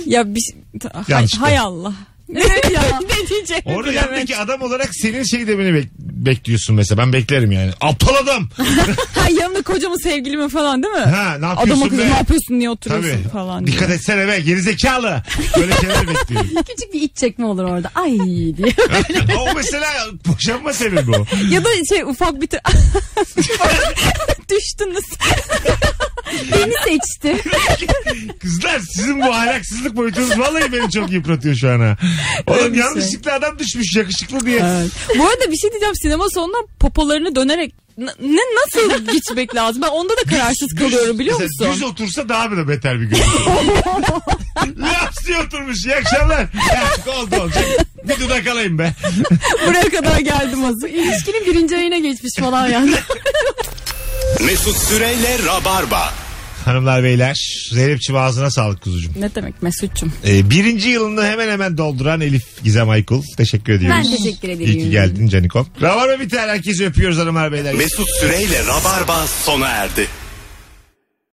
[SPEAKER 4] ya bir... Ah, Hay,
[SPEAKER 2] Yanlışlıkla.
[SPEAKER 4] hay Allah. Ne,
[SPEAKER 3] ya?
[SPEAKER 4] ne diyeceğimi
[SPEAKER 2] Orada
[SPEAKER 4] bilemedim.
[SPEAKER 2] yandaki adam olarak senin şey demeni bek- bekliyorsun mesela. Ben beklerim yani. Aptal adam.
[SPEAKER 4] Ha yanımda kocamı sevgilimi falan değil mi?
[SPEAKER 2] Ha, ne yapıyorsun
[SPEAKER 4] Adama kızım
[SPEAKER 2] be?
[SPEAKER 4] ne yapıyorsun niye oturuyorsun
[SPEAKER 2] Tabii.
[SPEAKER 4] falan. diye.
[SPEAKER 2] Dikkat etsene be gerizekalı. Böyle şeyler bekliyorum.
[SPEAKER 3] Küçük bir iç çekme olur orada. Ay diye.
[SPEAKER 2] o mesela boşanma sebebi o.
[SPEAKER 4] Ya da şey ufak bir... te- Düştünüz.
[SPEAKER 3] Beni seçti.
[SPEAKER 2] Kızlar sizin bu ahlaksızlık boyutunuz vallahi beni çok yıpratıyor şu an ha. Oğlum
[SPEAKER 4] Öyle bir şey.
[SPEAKER 2] yanlışlıkla adam düşmüş yakışıklı diye.
[SPEAKER 4] Evet. Bu arada bir şey diyeceğim sinema sonunda popolarını dönerek N- ne nasıl geçmek lazım? Ben onda da kararsız kalıyorum biliyor
[SPEAKER 2] Mesela
[SPEAKER 4] musun?
[SPEAKER 2] Düz otursa daha bile beter bir gün. Laps diye oturmuş. İyi akşamlar. Artık oldu olacak. Bir dudak alayım be.
[SPEAKER 4] Buraya kadar geldim az.
[SPEAKER 3] Bu ilişkinin birinci ayına geçmiş falan yani.
[SPEAKER 1] Mesut Süreyle Rabarba.
[SPEAKER 2] Hanımlar beyler. Zeynep'ciğim ağzına sağlık kuzucuğum.
[SPEAKER 4] Ne demek Mesut'cum?
[SPEAKER 2] Ee, birinci yılını hemen hemen dolduran Elif Gizem Aykul. Teşekkür ediyoruz.
[SPEAKER 3] Ben teşekkür ederim.
[SPEAKER 2] İyi ki geldin Canikom. Rabarba biter. Herkesi öpüyoruz hanımlar beyler.
[SPEAKER 1] Mesut Süreyle Rabarba sona erdi.